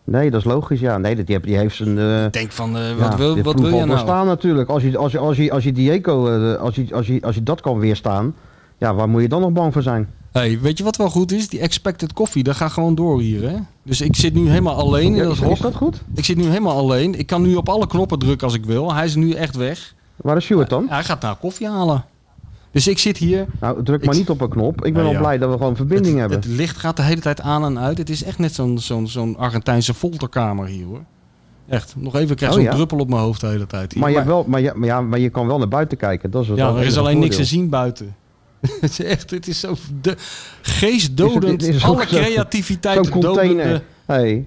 S3: Nee, dat is logisch. Ja, nee, dat- die, heb- die heeft zijn. eh,
S4: Ik denk van, eh,
S3: ja,
S4: wat wil,
S3: dit
S4: wat wil
S3: proefbal
S4: je nou?
S3: doorstaan natuurlijk. Als je, als je, als je, als je Diego, eh, als je, als je, als je dat kan weerstaan, ja, waar moet je dan nog bang voor zijn?
S4: Hey, weet je wat wel goed is? Die expected koffie, dat gaat gewoon door hier, hè? Dus ik zit nu helemaal alleen in
S3: Ja,
S4: dat
S3: is,
S4: hok.
S3: is dat goed?
S4: Ik zit nu helemaal alleen. Ik kan nu op alle knoppen drukken als ik wil. Hij is nu echt weg.
S3: Waar is Stuart dan?
S4: Hij gaat naar koffie halen. Dus ik zit hier.
S3: Nou, druk maar
S4: Ik-
S3: niet op een knop. Ik ben
S4: Nou
S3: al
S4: ja.
S3: blij dat we gewoon verbinding
S4: Het,
S3: hebben.
S4: het licht gaat de hele tijd aan en uit. Het is echt net zo'n zo'n zo'n Argentijnse folterkamer hier hoor. Echt. Nog even krijg
S3: Oh,
S4: zo'n
S3: ja.
S4: druppel op mijn hoofd de hele tijd. hier.
S3: Maar je, hebt wel, maar, je, maar, ja, maar je kan wel naar buiten kijken. Dat is het
S4: ja, er is
S3: enige
S4: alleen niks te
S3: voordeel.
S4: zien buiten. [laughs] het is echt, het is zo de, geestdodend.
S3: Is het- is het
S4: alle
S3: ook zo-
S4: creativiteit
S3: zo'n container?
S4: dodende-
S3: Hey,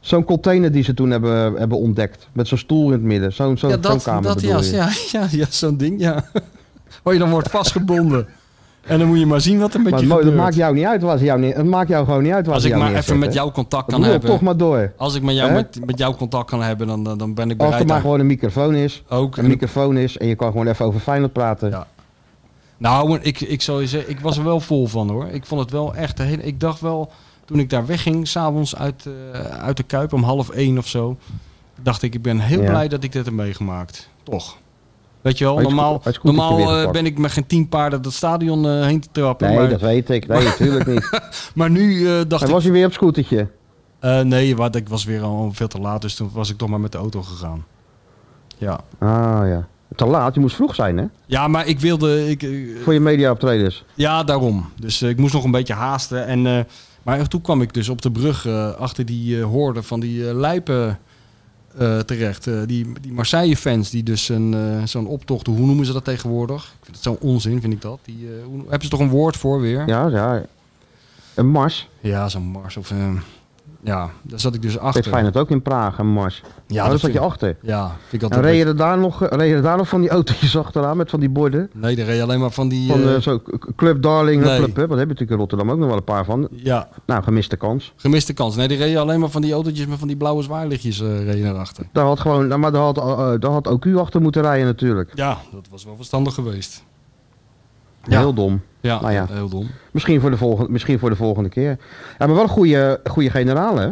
S3: zo'n container die ze toen hebben, hebben ontdekt. Met zo'n stoel in het midden. Zo'n zo'n
S4: ja,
S3: zo'n
S4: dat,
S3: kamer
S4: dat
S3: bedoel
S4: ja,
S3: je.
S4: ja, ja, ja, zo'n ding, ja. [laughs] Waar je dan wordt vastgebonden. En dan moet je maar zien wat er met
S3: Maar
S4: je
S3: het mooie, dat
S4: gebeurt.
S3: maakt jou niet uit waar ze jou neer- Het maakt jou gewoon niet uit waar
S4: Als
S3: ze
S4: ik
S3: jou
S4: maar even
S3: neerzetten.
S4: met jou
S3: Dat
S4: contact kan
S3: doe je
S4: hebben.
S3: toch maar door.
S4: Als ik met jou,
S3: Hè?
S4: met, met jou contact kan hebben, dan, dan, dan ben
S3: Als
S4: ik bereid.
S3: er maar
S4: daar
S3: gewoon een microfoon is.
S4: ook.
S3: Een
S4: En-
S3: microfoon is en je kan gewoon even over Feyenoord praten.
S4: Ja. nou, maar ik, ik zal je zeggen, ik was er wel vol van hoor. Ik vond het wel echt. de hele- Ik dacht wel, toen ik daar wegging, s'avonds uit, eh, uit de Kuip om half één of zo. Dacht ik, ik ben heel
S3: Ja.
S4: blij dat ik dit heb meegemaakt. Toch. Weet je wel,
S3: Had je het
S4: normaal,
S3: sco- had je het
S4: normaal
S3: scootertje weer
S4: eh,
S3: gepakt?
S4: ben ik met geen tien paarden dat stadion eh, heen te trappen.
S3: Nee,
S4: maar,
S3: dat weet ik.
S4: [laughs]
S3: Nee, natuurlijk niet.
S4: maar nu eh, dacht
S3: Hij
S4: ik,
S3: was hij weer op scootertje.
S4: eh, nee, wat, ik was weer al veel te laat, dus toen was ik toch maar met de auto gegaan. Ja,
S3: Ah ja. Te laat, je moest vroeg zijn hè?
S4: ja maar ik wilde, ik, eh,
S3: Voor je mediaoptredens.
S4: Ja, daarom. Dus eh, ik moest nog een beetje haasten. En, eh, maar toen kwam ik dus op de brug eh, achter die eh hoorde van die eh, lijpen eh, terecht. Eh, die die Marseille-fans die dus een, eh, zo'n optocht, hoe noemen ze dat tegenwoordig? Ik vind het zo'n onzin, vind ik dat. Die, eh, hoe, hebben ze toch een woord voor weer?
S3: Ja, ja. Een mars.
S4: Ja, zo'n mars. Of, eh, ja, daar zat ik dus
S3: Dat heeft
S4: achter.
S3: Feyenoord Oh, ook in Praag, een mars.
S4: Ja,
S3: Ja, daar zat
S4: vind
S3: je
S4: ik-
S3: achter.
S4: Ja, vind ik
S3: En
S4: altijd...
S3: Nou, reden er, daar nog, eh, reden er daar nog van die [laughs] autootjes achteraan met van die borden?
S4: Nee, daar reed je alleen maar van die...
S3: Van
S4: eh,
S3: eh, zo, k- Club Darling,
S4: nee.
S3: Club Hub. Dat heb je natuurlijk in Rotterdam ook nog wel een paar van.
S4: eh, ja,
S3: Nou, gemiste kans.
S4: gemiste kans. Nee, die reed je alleen maar van die autootjes met van die blauwe zwaarlichtjes eh reed je erachter.
S3: Daar had gewoon, nou, maar daar had, eh, eh, daar had ook u achter moeten rijden natuurlijk.
S4: Ja, dat was wel verstandig geweest. Ja.
S3: Heel dom.
S4: Ja,
S3: Nou ja.
S4: heel dom.
S3: Misschien voor de volgende, misschien voor de volgende keer. Ja, maar wel een goede, goede generaal hè?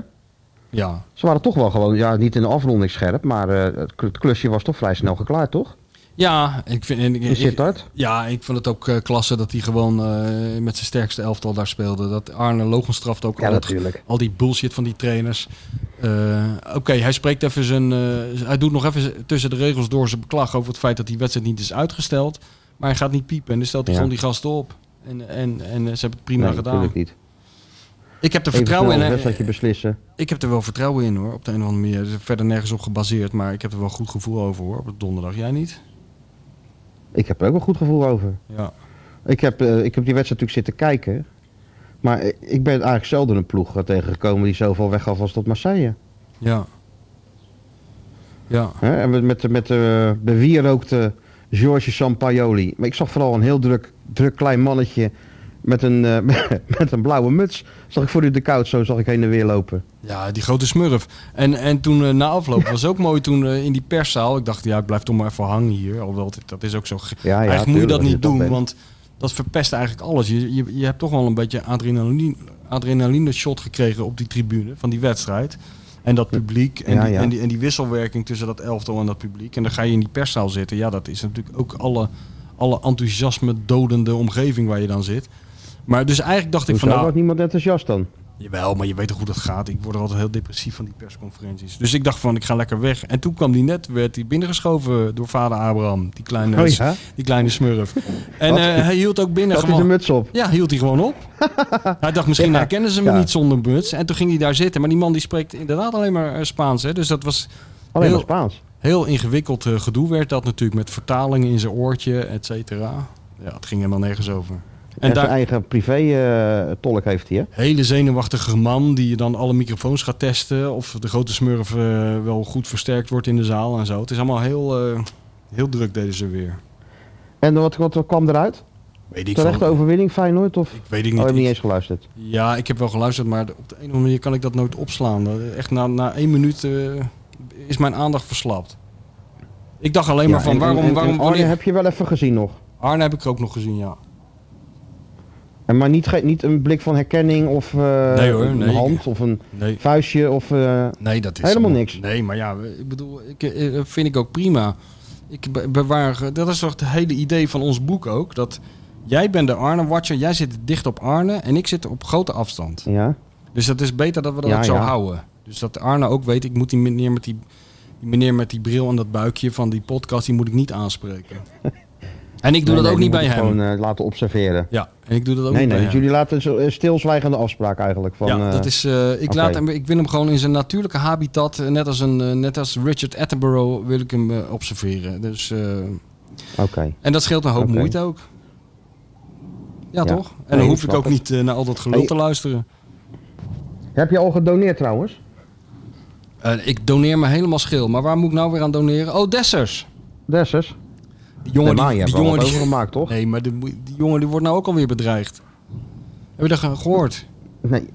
S4: Ja.
S3: Ze waren toch wel gewoon, ja, niet in de afronding scherp, maar eh, het kl- het klusje was toch vrij snel geklaard, toch?
S4: Ja, ik vind... en ik-
S3: In
S4: ik-
S3: Sittard?
S4: Ja, ik vond het ook eh, klasse dat hij gewoon eh, met zijn sterkste elftal daar speelde. Dat Arne Logenstraft ook
S3: Ja,
S4: al, dat-
S3: natuurlijk.
S4: al die bullshit van die trainers. Eh, Oké, hij spreekt even zijn... eh, hij doet nog even z- tussen de regels door zijn beklag over het feit dat die wedstrijd niet is uitgesteld. Maar hij gaat niet piepen en dan stelt hij
S3: Ja.
S4: gewoon die gasten op. En, en, en eh, ze hebben het prima
S3: nee,
S4: gedaan.
S3: natuurlijk niet.
S4: Ik heb er
S3: Even snel
S4: vertrouwen in.
S3: een
S4: hè.
S3: wedstrijdje beslissen.
S4: Ik heb er wel vertrouwen in hoor, op de een of andere manier. Er is Verder nergens op gebaseerd, maar ik heb er wel een goed gevoel over hoor. Op het donderdag, jij niet?
S3: Ik heb er ook wel een goed gevoel over.
S4: Ja.
S3: Ik heb, eh, ik heb die wedstrijd natuurlijk zitten kijken. Maar eh, ik ben eigenlijk zelden een ploeg eh, tegengekomen die zoveel weggaf als tot Marseille.
S4: Ja. Ja.
S3: Hè? En met, met, de- met eh, de bewierookte Georges Sampaioli. Maar ik zag vooral een heel druk, druk klein mannetje met een, eh, [laughs] met een blauwe muts. Zag ik voor u de koud zo, zag ik heen en weer lopen.
S4: Ja, die grote smurf. En, en toen eh, na
S3: [laughs]
S4: afloop was ook mooi toen eh, in die perszaal. Ik dacht, ja, ik blijf toch maar even hangen hier. Alhoewel, dit- dat is ook zo. ge-
S3: Ja, ja,
S4: eigenlijk moet je
S3: tuurlijk,
S4: dat
S3: als je
S4: niet
S3: dat
S4: doen,
S3: bent.
S4: want dat verpest eigenlijk alles. Je, je, je hebt toch wel een beetje adrenaline, adrenaline shot gekregen op die tribune van die wedstrijd. En dat publiek en,
S3: Ja,
S4: die,
S3: ja.
S4: En, die, en die wisselwerking tussen dat elftal en dat publiek. En dan ga je in die perszaal zitten. Ja, dat is natuurlijk ook alle, alle enthousiasme dodende omgeving waar je dan zit. Maar dus eigenlijk dacht ik
S3: Hoezo
S4: van nou,
S3: wordt niemand enthousiast dan?
S4: Jawel, maar je weet toch hoe dat gaat. Ik word er altijd heel depressief van die persconferenties. Dus ik dacht van, ik ga lekker weg. En toen kwam die net, werd hij binnengeschoven door vader Abraham. Die kleine,
S3: Oh ja?
S4: die kleine smurf. En
S3: Had-
S4: eh, hij hield ook binnen
S3: Had hij zijn
S4: gewoon...
S3: muts op?
S4: Ja, hield hij gewoon
S3: [laughs]
S4: op. hij dacht, misschien
S3: Ja.
S4: herkennen ze me
S3: Ja.
S4: niet zonder muts. En toen ging hij daar zitten. Maar die man die spreekt inderdaad alleen maar eh, Spaans. Hè? Dus dat was
S3: Alleen maar
S4: heel,
S3: Spaans.
S4: heel ingewikkeld eh, gedoe werd dat natuurlijk. Met vertalingen in zijn oortje, et cetera. Ja, het ging helemaal nergens over.
S3: En, zijn eigen privé eh, tolk heeft hij, hè?
S4: hele zenuwachtige man die je dan alle microfoons gaat testen. Of de grote smurf eh, wel goed versterkt wordt in de zaal en zo. Het is allemaal heel, eh, heel druk deden ze weer.
S3: En wat, wat kwam eruit?
S4: Weet ik
S3: Terechte
S4: van-
S3: overwinning, Feyenoord? Of?
S4: Ik weet ik
S3: Oh,
S4: niet.
S3: heb je niet
S4: Ik-
S3: eens geluisterd.
S4: ja, ik heb wel geluisterd, maar op de een of andere manier kan ik dat nooit opslaan. Dat- Echt na, na één minuut eh, is mijn aandacht verslapt. Ik dacht alleen maar
S3: Ja,
S4: van
S3: en- en-
S4: waarom,
S3: en- en
S4: waarom
S3: Arne
S4: wanneer-
S3: heb je wel even gezien nog.
S4: Arne heb ik ook nog gezien, ja.
S3: En maar niet, ge- niet een blik van herkenning of eh,
S4: Nee hoor,
S3: een
S4: nee.
S3: hand of een
S4: Nee,
S3: vuistje of... eh,
S4: Nee, dat is
S3: Helemaal
S4: allemaal-
S3: niks.
S4: Nee, maar ja, ik bedoel, ik, eh, vind ik ook prima. Ik be- bewaar, dat is toch het hele idee van ons boek ook. Dat jij bent de Arne-watcher, jij zit dicht op Arne en ik zit op grote afstand.
S3: ja.
S4: Dus dat is beter dat we dat
S3: Ja,
S4: ook zo
S3: ja.
S4: houden. Dus dat Arne ook weet, ik moet die meneer met
S3: [laughs]
S4: die, die meneer met die bril en dat buikje van die podcast, die moet ik niet aanspreken. En ik
S3: Nee,
S4: doe dat
S3: nee,
S4: ook
S3: die
S4: niet bij
S3: moet ik
S4: hem.
S3: Gewoon eh, laten observeren.
S4: Ja, en ik doe dat ook
S3: Nee,
S4: niet
S3: nee,
S4: bij
S3: want
S4: hem.
S3: jullie laten een zo- een stilzwijgende afspraak eigenlijk. Van,
S4: ja,
S3: eh,
S4: dat is, eh, ik,
S3: oké.
S4: laat hem, ik wil hem gewoon in zijn natuurlijke habitat, eh, net als, een, eh, net als Richard Attenborough, wil ik hem eh, observeren. Dus, eh,
S3: Oké.
S4: en dat scheelt een hoop
S3: Oké.
S4: moeite ook. Ja,
S3: Ja.
S4: toch? En
S3: Nee,
S4: dan
S3: dat
S4: hoef ik
S3: snap
S4: ook
S3: ik.
S4: niet eh, naar al dat gelul
S3: Hey.
S4: te luisteren.
S3: Heb je al gedoneerd trouwens?
S4: Eh, ik doneer me helemaal schil, maar waar moet ik nou weer aan doneren? Oh, Dessers!
S3: Dessers?
S4: Die
S3: Nee,
S4: jongen
S3: maar
S4: die,
S3: je hebt
S4: die,
S3: er al
S4: jongen
S3: wat
S4: die,
S3: over gemaakt, toch?
S4: Nee, maar die, die jongen die wordt nou ook alweer bedreigd. Heb je dat ge- gehoord?
S3: Nee.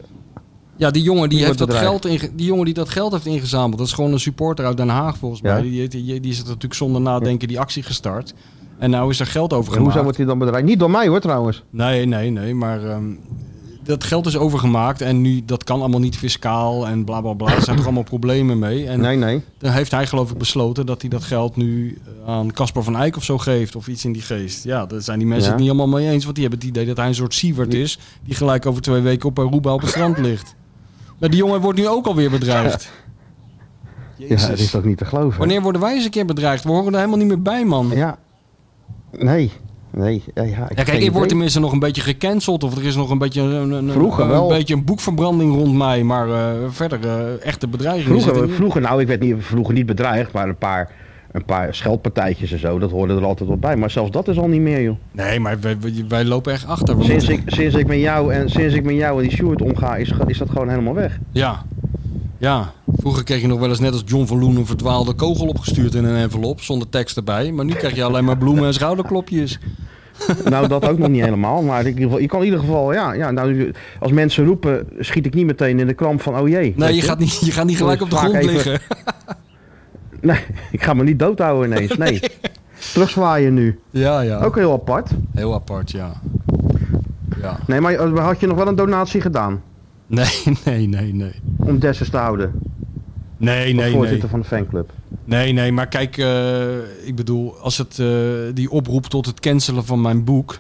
S4: Ja, die jongen die,
S3: Die
S4: heeft
S3: wordt
S4: dat
S3: bedreigd.
S4: geld inge- die jongen die dat geld heeft ingezameld, dat is gewoon een supporter uit Den Haag volgens
S3: Ja.
S4: mij. Die, die, die is het natuurlijk zonder nadenken die actie gestart. En nou is er geld
S3: En hoezo
S4: overgemaakt.
S3: wordt hij dan bedreigd? Niet door mij hoor trouwens.
S4: Nee, nee, nee, maar ehm, dat geld is overgemaakt en nu dat kan allemaal niet fiscaal en bla bla bla. Er zijn toch allemaal problemen mee. En
S3: Nee, nee.
S4: dan heeft hij geloof ik besloten dat hij dat geld nu eh, aan Caspar van Eyck of zo geeft. Of iets in die geest. Ja, daar zijn die mensen
S3: Ja.
S4: het niet allemaal mee eens. Want die hebben het idee dat hij een soort Sievert is. Die gelijk over twee weken op Aruba op het strand ligt. Maar die jongen wordt nu ook alweer bedreigd.
S3: Ja, dat is
S4: Jezus.
S3: ook niet te geloven.
S4: Wanneer worden wij eens een keer bedreigd? We horen er helemaal niet meer bij, man.
S3: Ja. Nee. Nee. Ja, ja, ik
S4: Ja,
S3: heb
S4: kijk,
S3: geen
S4: ik word
S3: idee.
S4: tenminste nog een beetje gecanceld. Of er is nog een beetje een, een, een-
S3: Vroeger
S4: een
S3: wel.
S4: beetje een boekverbranding rond mij. Maar eh, verder, eh, echte bedreigingen zitten
S3: Vroeger,
S4: niet.
S3: vroeger, nou, ik werd niet, vroeger niet bedreigd, maar een paar, een paar scheldpartijtjes en zo, dat hoorde er altijd wel bij. Maar zelfs dat is al niet meer, joh.
S4: Nee, maar wij, wij- wij lopen echt achter. We
S3: Sinds
S4: moeten-
S3: ik, sinds ik met jou en, sinds ik met jou en die Stuart omga, is, ge- is dat gewoon helemaal weg.
S4: Ja. Ja. Vroeger kreeg je nog wel eens net als John van Loen een verdwaalde kogel opgestuurd in een envelop zonder tekst erbij. Maar nu krijg je alleen maar bloemen en schouderklopjes.
S3: nou, dat ook nog niet helemaal, maar ik, ik kan in ieder geval, ja, ja nou, als mensen roepen, schiet ik niet meteen in de kramp van, oh jee.
S4: Nee,
S3: Weet
S4: je gaat niet, je gaat niet gelijk op de
S3: Vaak
S4: grond
S3: even-
S4: liggen.
S3: Nee, [laughs] ik ga me niet doodhouden ineens,
S4: [laughs]
S3: nee. Terugzwaaien nu.
S4: Ja, ja.
S3: Ook heel apart.
S4: Heel apart, ja. Ja.
S3: Nee, maar eh, had je nog wel een donatie gedaan
S4: Nee, [laughs] nee, nee, nee.
S3: om Dessers te houden?
S4: Nee,
S3: Als
S4: nee, nee.
S3: voorzitter van de fanclub.
S4: Nee, nee, maar kijk, eh, ik bedoel, als het eh, die oproep tot het cancelen van mijn boek.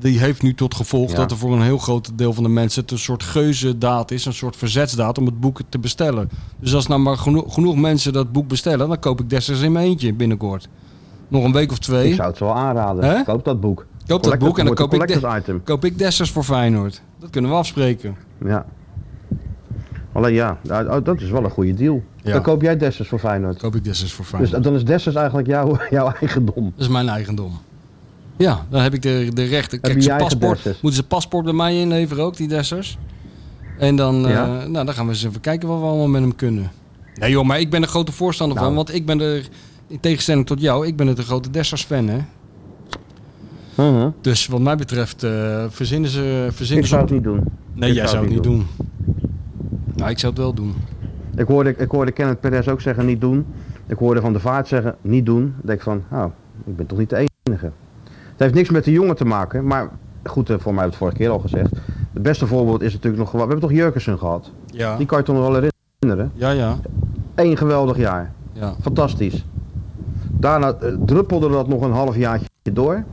S4: Die heeft nu tot gevolg
S3: Ja.
S4: dat er voor een heel groot deel van de mensen het een soort geuzendaad is, een soort verzetsdaad om het boek te bestellen. Dus als nou maar geno- genoeg mensen dat boek bestellen, dan koop ik destijds in mijn eentje binnenkort. Nog een week of twee.
S3: Ik zou het wel aanraden.
S4: Hè?
S3: Koop dat boek.
S4: Koop dat boek en dan koop ik, de-
S3: dat item.
S4: koop ik destijds voor Feyenoord. Dat kunnen we afspreken.
S3: Ja. Alleen ja, nou, oh, dat is wel een goede deal.
S4: Ja.
S3: Dan koop jij Dessers voor Feyenoord.
S4: Koop ik destijds voor
S3: Dus
S4: Feyenoord.
S3: dan is Dessers eigenlijk jouw, [laughs] jouw eigendom.
S4: Dat is mijn eigendom. Ja, dan heb ik de, de rechten. Kijk,
S3: je
S4: zijn
S3: je eigen
S4: paspoort,
S3: Dessers?
S4: moeten ze paspoort bij mij inleveren ook, die Dessers. En dan, eh,
S3: Ja.
S4: nou, dan gaan we eens even kijken wat we allemaal met hem kunnen. Nee joh, maar ik ben er grote voorstander
S3: Nou.
S4: van. Want ik ben er, in tegenstelling tot jou, ik ben het een grote Dessers-fan. hè.
S3: Mhm.
S4: Dus wat mij betreft eh, verzinnen ze... Verzinnen
S3: Ik
S4: ze
S3: zou het niet doen.
S4: nee,
S3: ik
S4: jij zou het niet doen. Nou, ik zou het wel doen.
S3: Ik hoorde, ik hoorde Kenneth Perez ook zeggen niet doen. Ik hoorde Van der Vaart zeggen niet doen. Ik denk van, oh, ik ben toch niet de enige. Het heeft niks met de jongen te maken. Maar goed, eh, voor mij hebben we het vorige keer al gezegd. Het beste voorbeeld is natuurlijk nog... We hebben toch Jurkensen gehad?
S4: Ja,
S3: Die kan je toch nog wel herinneren?
S4: ja, ja.
S3: Eén geweldig jaar.
S4: ja.
S3: Fantastisch. Daarna eh, druppelde dat nog een half jaartje door.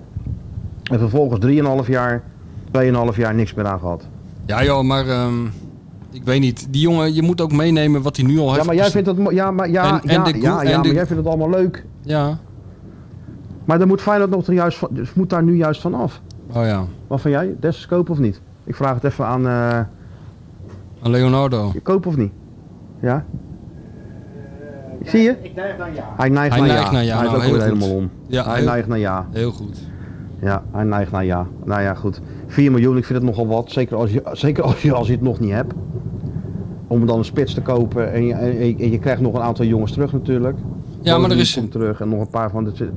S3: En vervolgens 3,5 jaar, 2,5 jaar niks meer aan gehad.
S4: Ja joh, maar ehm, ik weet niet. Die jongen, je moet ook meenemen wat hij nu al heeft.
S3: Ja, maar jij vindt dat, mo- ja, maar, ja,
S4: En- en
S3: ja,
S4: de
S3: ja,
S4: goe-
S3: ja,
S4: en de-
S3: maar jij vindt het allemaal leuk.
S4: Ja,
S3: Maar dan moet Feyenoord nog er juist van, dus moet daar nu juist van af.
S4: oh ja.
S3: Wat van jij? Dessers kopen of niet? Ik vraag het even aan eh
S4: Aan Leonardo.
S3: kopen of niet? Ja? Zie je? Ik neig naar ja. Hij neigt
S4: Hij
S3: naar
S4: neigt
S3: ja.
S4: naar ja,
S3: Hij is
S4: nou,
S3: ook weer
S4: heel goed.
S3: helemaal om.
S4: Ja,
S3: Hij
S4: heel-
S3: neigt naar ja.
S4: Heel goed.
S3: Ja, hij neigt naar ja. Nou ja, goed. 4 miljoen, ik vind het nogal wat. Zeker als je, zeker als je, als je het nog niet hebt. Om dan een spits te kopen en je, en je, en je krijgt nog een aantal jongens terug natuurlijk.
S4: Ja, maar er
S3: Bovendien
S4: is,
S3: komt terug en nog een paar van de...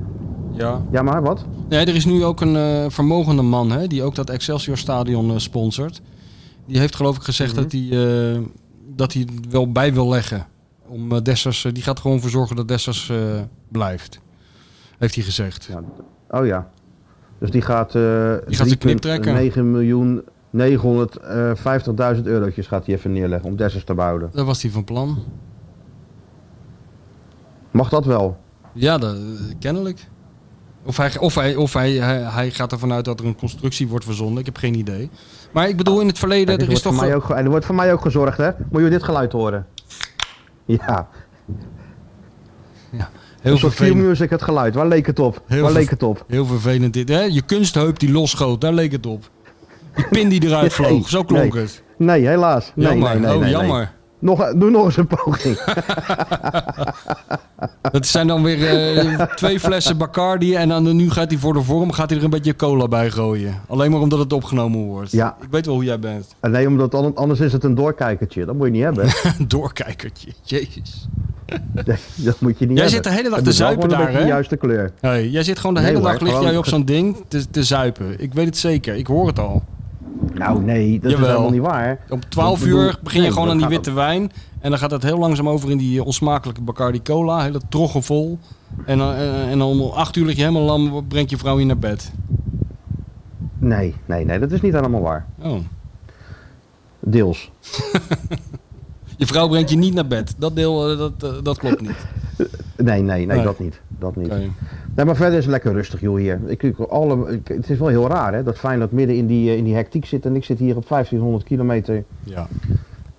S4: ja.
S3: Ja, maar wat?
S4: nee, er is nu ook een eh, vermogende man hè, die ook dat Excelsior Stadion eh, sponsort. Die heeft geloof ik gezegd dat, hij, eh, dat hij het wel bij wil leggen. Om, eh, Dessers, eh, die gaat gewoon voor zorgen dat Dessers eh, blijft. Heeft hij gezegd.
S3: Ja. Oh ja. Dus die gaat... eh
S4: Die gaat zijn knip trekken.
S3: 9 miljoen... 950.000 eurotjes gaat hij even neerleggen om Dessers te behouden.
S4: Dat was hij van plan.
S3: Mag dat wel?
S4: Ja, dat, eh, kennelijk. Of, hij, of, hij, of hij, hij, hij gaat ervan uit dat er een constructie wordt verzonden. Ik heb geen idee. Maar ik bedoel, in het verleden,
S3: Kijk,
S4: er is
S3: wordt
S4: toch...
S3: voor mij ook, ge- en er wordt voor mij ook gezorgd, hè? Moet je dit geluid horen? Ja.
S4: Ja, Heel
S3: een soort Q
S4: vervelend.
S3: Music het geluid. Waar leek het op?
S4: Heel
S3: Waar
S4: veel-
S3: leek het op?
S4: Heel vervelend dit. Hè? Je kunstheup die losschoot, daar leek het op. Die pin die eruit
S3: Nee,
S4: vloog, zo klonk
S3: nee.
S4: het.
S3: Nee, helaas. Nee,
S4: Jammer,
S3: nee, nee,
S4: oh
S3: nee, nee.
S4: jammer.
S3: Nog, doe nog eens een poging. [laughs]
S4: Dat zijn dan weer eh,
S3: [laughs]
S4: twee flessen Bacardi en dan nu gaat hij voor de vorm gaat hij er een beetje cola bij gooien. Alleen maar omdat het opgenomen wordt.
S3: Ja.
S4: Ik weet wel hoe jij bent. [laughs]
S3: Eh, nee, omdat an- anders is het een doorkijkertje. Dat moet je niet hebben.
S4: Een doorkijkertje. Jezus.
S3: dat moet je niet
S4: Jij
S3: hebben.
S4: zit de hele dag
S3: Het
S4: te
S3: is wel
S4: zuipen
S3: gewoon een
S4: daar,
S3: beetje
S4: hè?
S3: de juiste kleur.
S4: Hey, jij zit gewoon de
S3: Nee,
S4: hele
S3: hoor,
S4: dag ligt
S3: gewoon-
S4: jij op zo'n ding te, te zuipen. Ik weet het zeker. Ik hoor het al.
S3: Nou nee, dat
S4: Jawel.
S3: is helemaal niet waar.
S4: Om 12
S3: Ik bedoel,
S4: uur begin je
S3: nee,
S4: gewoon
S3: dat
S4: aan die
S3: gaat
S4: witte wijn. En dan gaat het heel langzaam over in die eh, onsmakelijke Bacardi Cola. Hele troggen vol. En, dan- eh, en dan om 8 uur lig je helemaal lam. Brengt je vrouw je naar bed.
S3: Nee, nee, nee, dat is niet helemaal waar.
S4: Oh.
S3: Deels.
S4: Je vrouw brengt je niet naar bed. Dat deel, eh, dat, eh, dat klopt
S3: [laughs]
S4: niet.
S3: Nee, nee, nee,
S4: Nee.
S3: dat niet. Dat niet.
S4: Oké.
S3: Nee, maar verder is het lekker rustig, joh, hier. Ik, ik- alle, ik- het is wel heel raar, hè, dat Feyenoord midden in die, eh, in die hectiek zit en ik zit hier op 1500 kilometer
S4: Ja.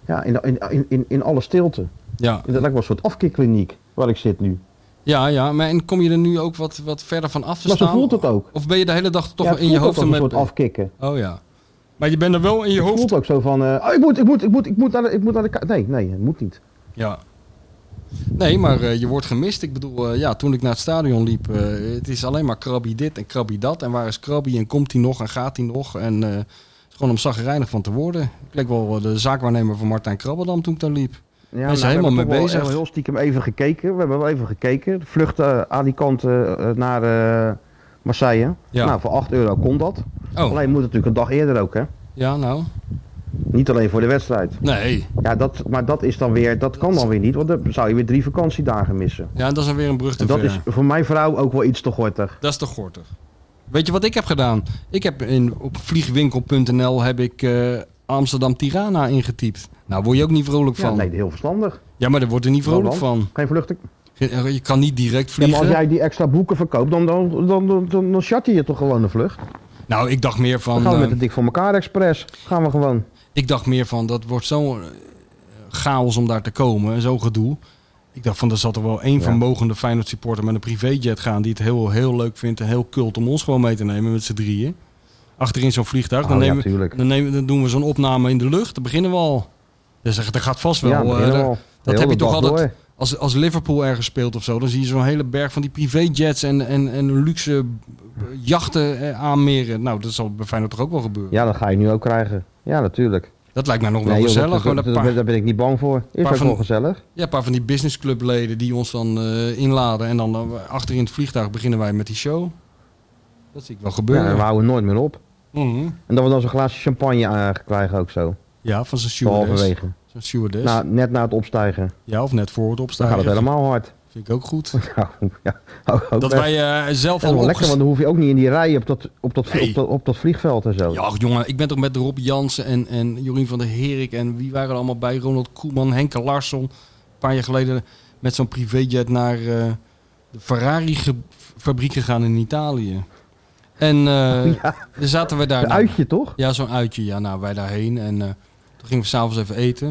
S3: ja, in, in, in, in, in alle stilte.
S4: Ja.
S3: En dat lijkt wel een soort afkikkliniek waar ik zit nu.
S4: ja, ja. Maar en kom je er nu ook wat, wat verder van af te
S3: Maar zo
S4: staan?
S3: voelt het ook.
S4: Of ben je de hele dag toch
S3: Ja, het
S4: in je
S3: voelt ook
S4: hoofd
S3: als een
S4: met...
S3: soort afkikken.
S4: Oh ja. Maar je bent er wel in je
S3: Het
S4: hoofd.
S3: voelt ook zo van, eh, oh, ik moet, ik moet, ik moet, ik moet naar de, ik moet naar de ka- Nee, nee, het moet niet.
S4: Ja. Nee, maar eh, je wordt gemist. Ik bedoel, eh, ja, toen ik naar het stadion liep, eh, het is alleen maar krabby dit en krabby dat. En waar is krabby en komt hij nog en gaat hij nog? En eh, het is gewoon om zagrijnig van te worden. Ik leek wel eh, de zaakwaarnemer van Martijn Krabbendam toen ik daar liep.
S3: Ja, nou,
S4: Mensen
S3: we
S4: helemaal
S3: hebben
S4: mee
S3: toch wel
S4: bezig.
S3: Heel, heel stiekem even gekeken. We hebben wel even gekeken. De Vluchten aan die kant eh, naar eh, Marseille.
S4: Ja.
S3: Nou, voor 8 euro kon dat.
S4: Oh,
S3: Alleen moet het natuurlijk een dag eerder ook, hè?
S4: ja, nou.
S3: Niet alleen voor de wedstrijd.
S4: Nee.
S3: Ja, dat, maar dat is dan weer, dat kan dan weer niet, want dan zou je weer drie vakantiedagen missen.
S4: Ja, dat is dan weer een brug te
S3: En dat
S4: ver.
S3: is voor mijn vrouw ook wel iets te gortig.
S4: Dat is toch gortig. Weet je wat ik heb gedaan? Ik heb in, op vliegwinkel.nl heb ik eh, Amsterdam Tirana ingetypt. Nou, word je ook niet vrolijk
S3: Ja,
S4: van.
S3: nee, heel verstandig.
S4: Ja, maar daar word je niet vrolijk
S3: Waarom?
S4: van.
S3: Geen vluchten.
S4: Je je kan niet direct
S3: Ja,
S4: vliegen.
S3: maar als jij die extra boeken verkoopt, dan, dan, dan, dan, dan, dan charter je toch gewoon de vlucht.
S4: Nou, ik dacht meer
S3: Dan
S4: van.
S3: gaan we met
S4: eh,
S3: de dik voor elkaar express. Gaan we gewoon.
S4: ik dacht meer van dat wordt zo'n eh, chaos om daar te komen en zo'n gedoe. Ik dacht van, er zal toch wel één
S3: Ja.
S4: vermogende Feyenoord supporter met een privéjet gaan die het heel, heel leuk vindt en heel kult om ons gewoon mee te nemen met z'n drieën. Achterin zo'n vliegtuig,
S3: Oh,
S4: dan,
S3: ja,
S4: nemen,
S3: tuurlijk.
S4: dan, nemen, dan doen we zo'n opname in de lucht, dan beginnen we al. Dus dat dat gaat vast wel.
S3: ja,
S4: eh,
S3: beginnen we
S4: dat-
S3: al.
S4: dat
S3: Heel
S4: heb je
S3: de
S4: toch
S3: dag
S4: altijd-
S3: door.
S4: als, als Liverpool ergens speelt of zo, dan zie je zo'n hele berg van die privéjets en, en, en luxe eh, jachten eh, aanmeren. Nou, dat zal bij Feyenoord toch ook wel gebeuren.
S3: Ja, dat ga je nu ook krijgen. Ja, natuurlijk.
S4: Dat lijkt mij nog wel
S3: joh, dat-
S4: gezellig. gewoon
S3: dat-
S4: een
S3: dat-
S4: paar-
S3: Daar ben ik niet bang voor. Is
S4: paar
S3: ook
S4: van-
S3: wel gezellig.
S4: Ja, een paar van die businessclubleden die ons dan eh, inladen. En dan eh, achter in het vliegtuig beginnen wij met die show. Dat zie ik wel
S3: Ja,
S4: gebeuren.
S3: we
S4: Ja,
S3: houden nooit meer op. En dat we dan zo'n glaasje champagne aan krijgen ook zo.
S4: ja van zijn stewardess.
S3: Halverwege.
S4: Zo'n stewardess.
S3: Nou, net na het opstijgen.
S4: ja, of net voor het
S3: Dan
S4: opstaan.
S3: gaat het helemaal hard. [laughs]
S4: Vind ik ook goed.
S3: Nou, ja, ook, ook
S4: Dat
S3: best.
S4: wij eh, zelf
S3: Dat is
S4: al
S3: wel lekker,
S4: opges-
S3: want dan hoef je ook niet in die rij op dat, op dat,
S4: Nee.
S3: op dat, op dat vliegveld en zo. [laughs]
S4: Ja, ach, jongen, ik ben toch met Rob Jansen en, en Jorien van der Herik en wie waren er allemaal bij? Ronald Koeman, Henke Larsson. Een paar jaar geleden met zo'n privéjet naar eh, de Ferrari-fabriek gegaan in Italië. En eh, dan zaten we daar.
S3: Een
S4: nou,
S3: uitje toch?
S4: Ja, zo'n uitje. Ja, nou, wij daarheen. En eh, toen gingen we s'avonds even eten.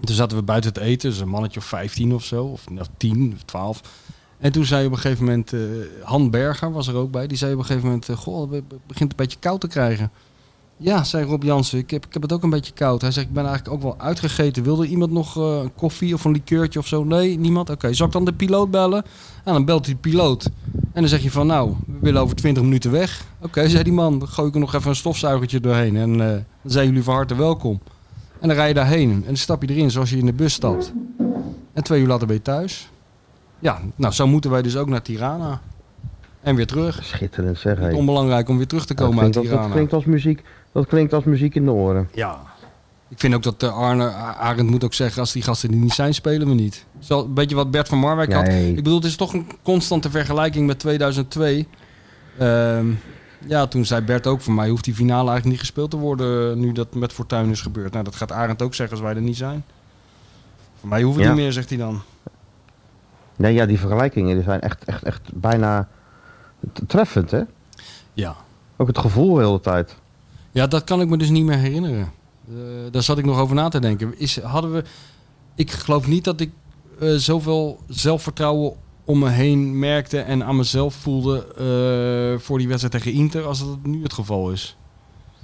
S4: En Toen zaten we buiten het eten. Dus een mannetje of 15 of zo. Of nou, 10 of 12. En toen zei op een gegeven moment... eh Han Berger was er ook bij. Die zei op een gegeven moment... eh, Goh, het be- begint een beetje koud te krijgen. Ja, zei Rob Jansen. Ik heb, ik heb het ook een beetje koud. Hij zegt, ik ben eigenlijk ook wel uitgegeten. Wilde iemand nog eh, een koffie of een likeurtje of zo? Nee, niemand? Oké, zal ik dan de piloot bellen? En dan belt die piloot. En dan zeg je van, nou, we willen over 20 minuten weg. Oké, zei die man, dan gooi ik er nog even een stofzuigertje doorheen. En eh, dan zijn jullie van harte welkom. En dan rij je daarheen. En dan stap je erin zoals je in de bus stapt. En twee uur later ben je thuis. Ja, nou, zo moeten wij dus ook naar Tirana. En weer terug.
S3: Schitterend zeg, hé.
S4: Niet onbelangrijk om weer terug te
S3: Ja, dat,
S4: komen uit
S3: klinkt als, dat
S4: Tirana.
S3: klinkt als muziek. Dat klinkt als muziek in de oren.
S4: Ja. Ik vind ook dat eh, Arne, A- Arend moet ook zeggen, als die gasten er niet zijn, spelen we niet. Zo, een beetje wat Bert van Marwijk had.
S3: Nee.
S4: Ik bedoel, het is toch een constante vergelijking met 2002. Ehm, ja, toen zei Bert ook van mij, hoeft die finale eigenlijk niet gespeeld te worden eh, nu dat met Fortuin is gebeurd. Nou, dat gaat Arend ook zeggen als wij er niet zijn. Voor mij hoeven we
S3: Ja.
S4: niet meer, zegt hij dan.
S3: Nee, ja, die vergelijkingen die zijn echt, echt, echt bijna t- treffend, hè?
S4: Ja.
S3: Ook het gevoel de hele tijd.
S4: Ja, dat kan ik me dus niet meer herinneren. Eh, daar zat ik nog over na te denken. Is, hadden we, ik geloof niet dat ik eh, zoveel zelfvertrouwen om me heen merkte en aan mezelf voelde eh, voor die wedstrijd tegen Inter, als dat nu het geval is.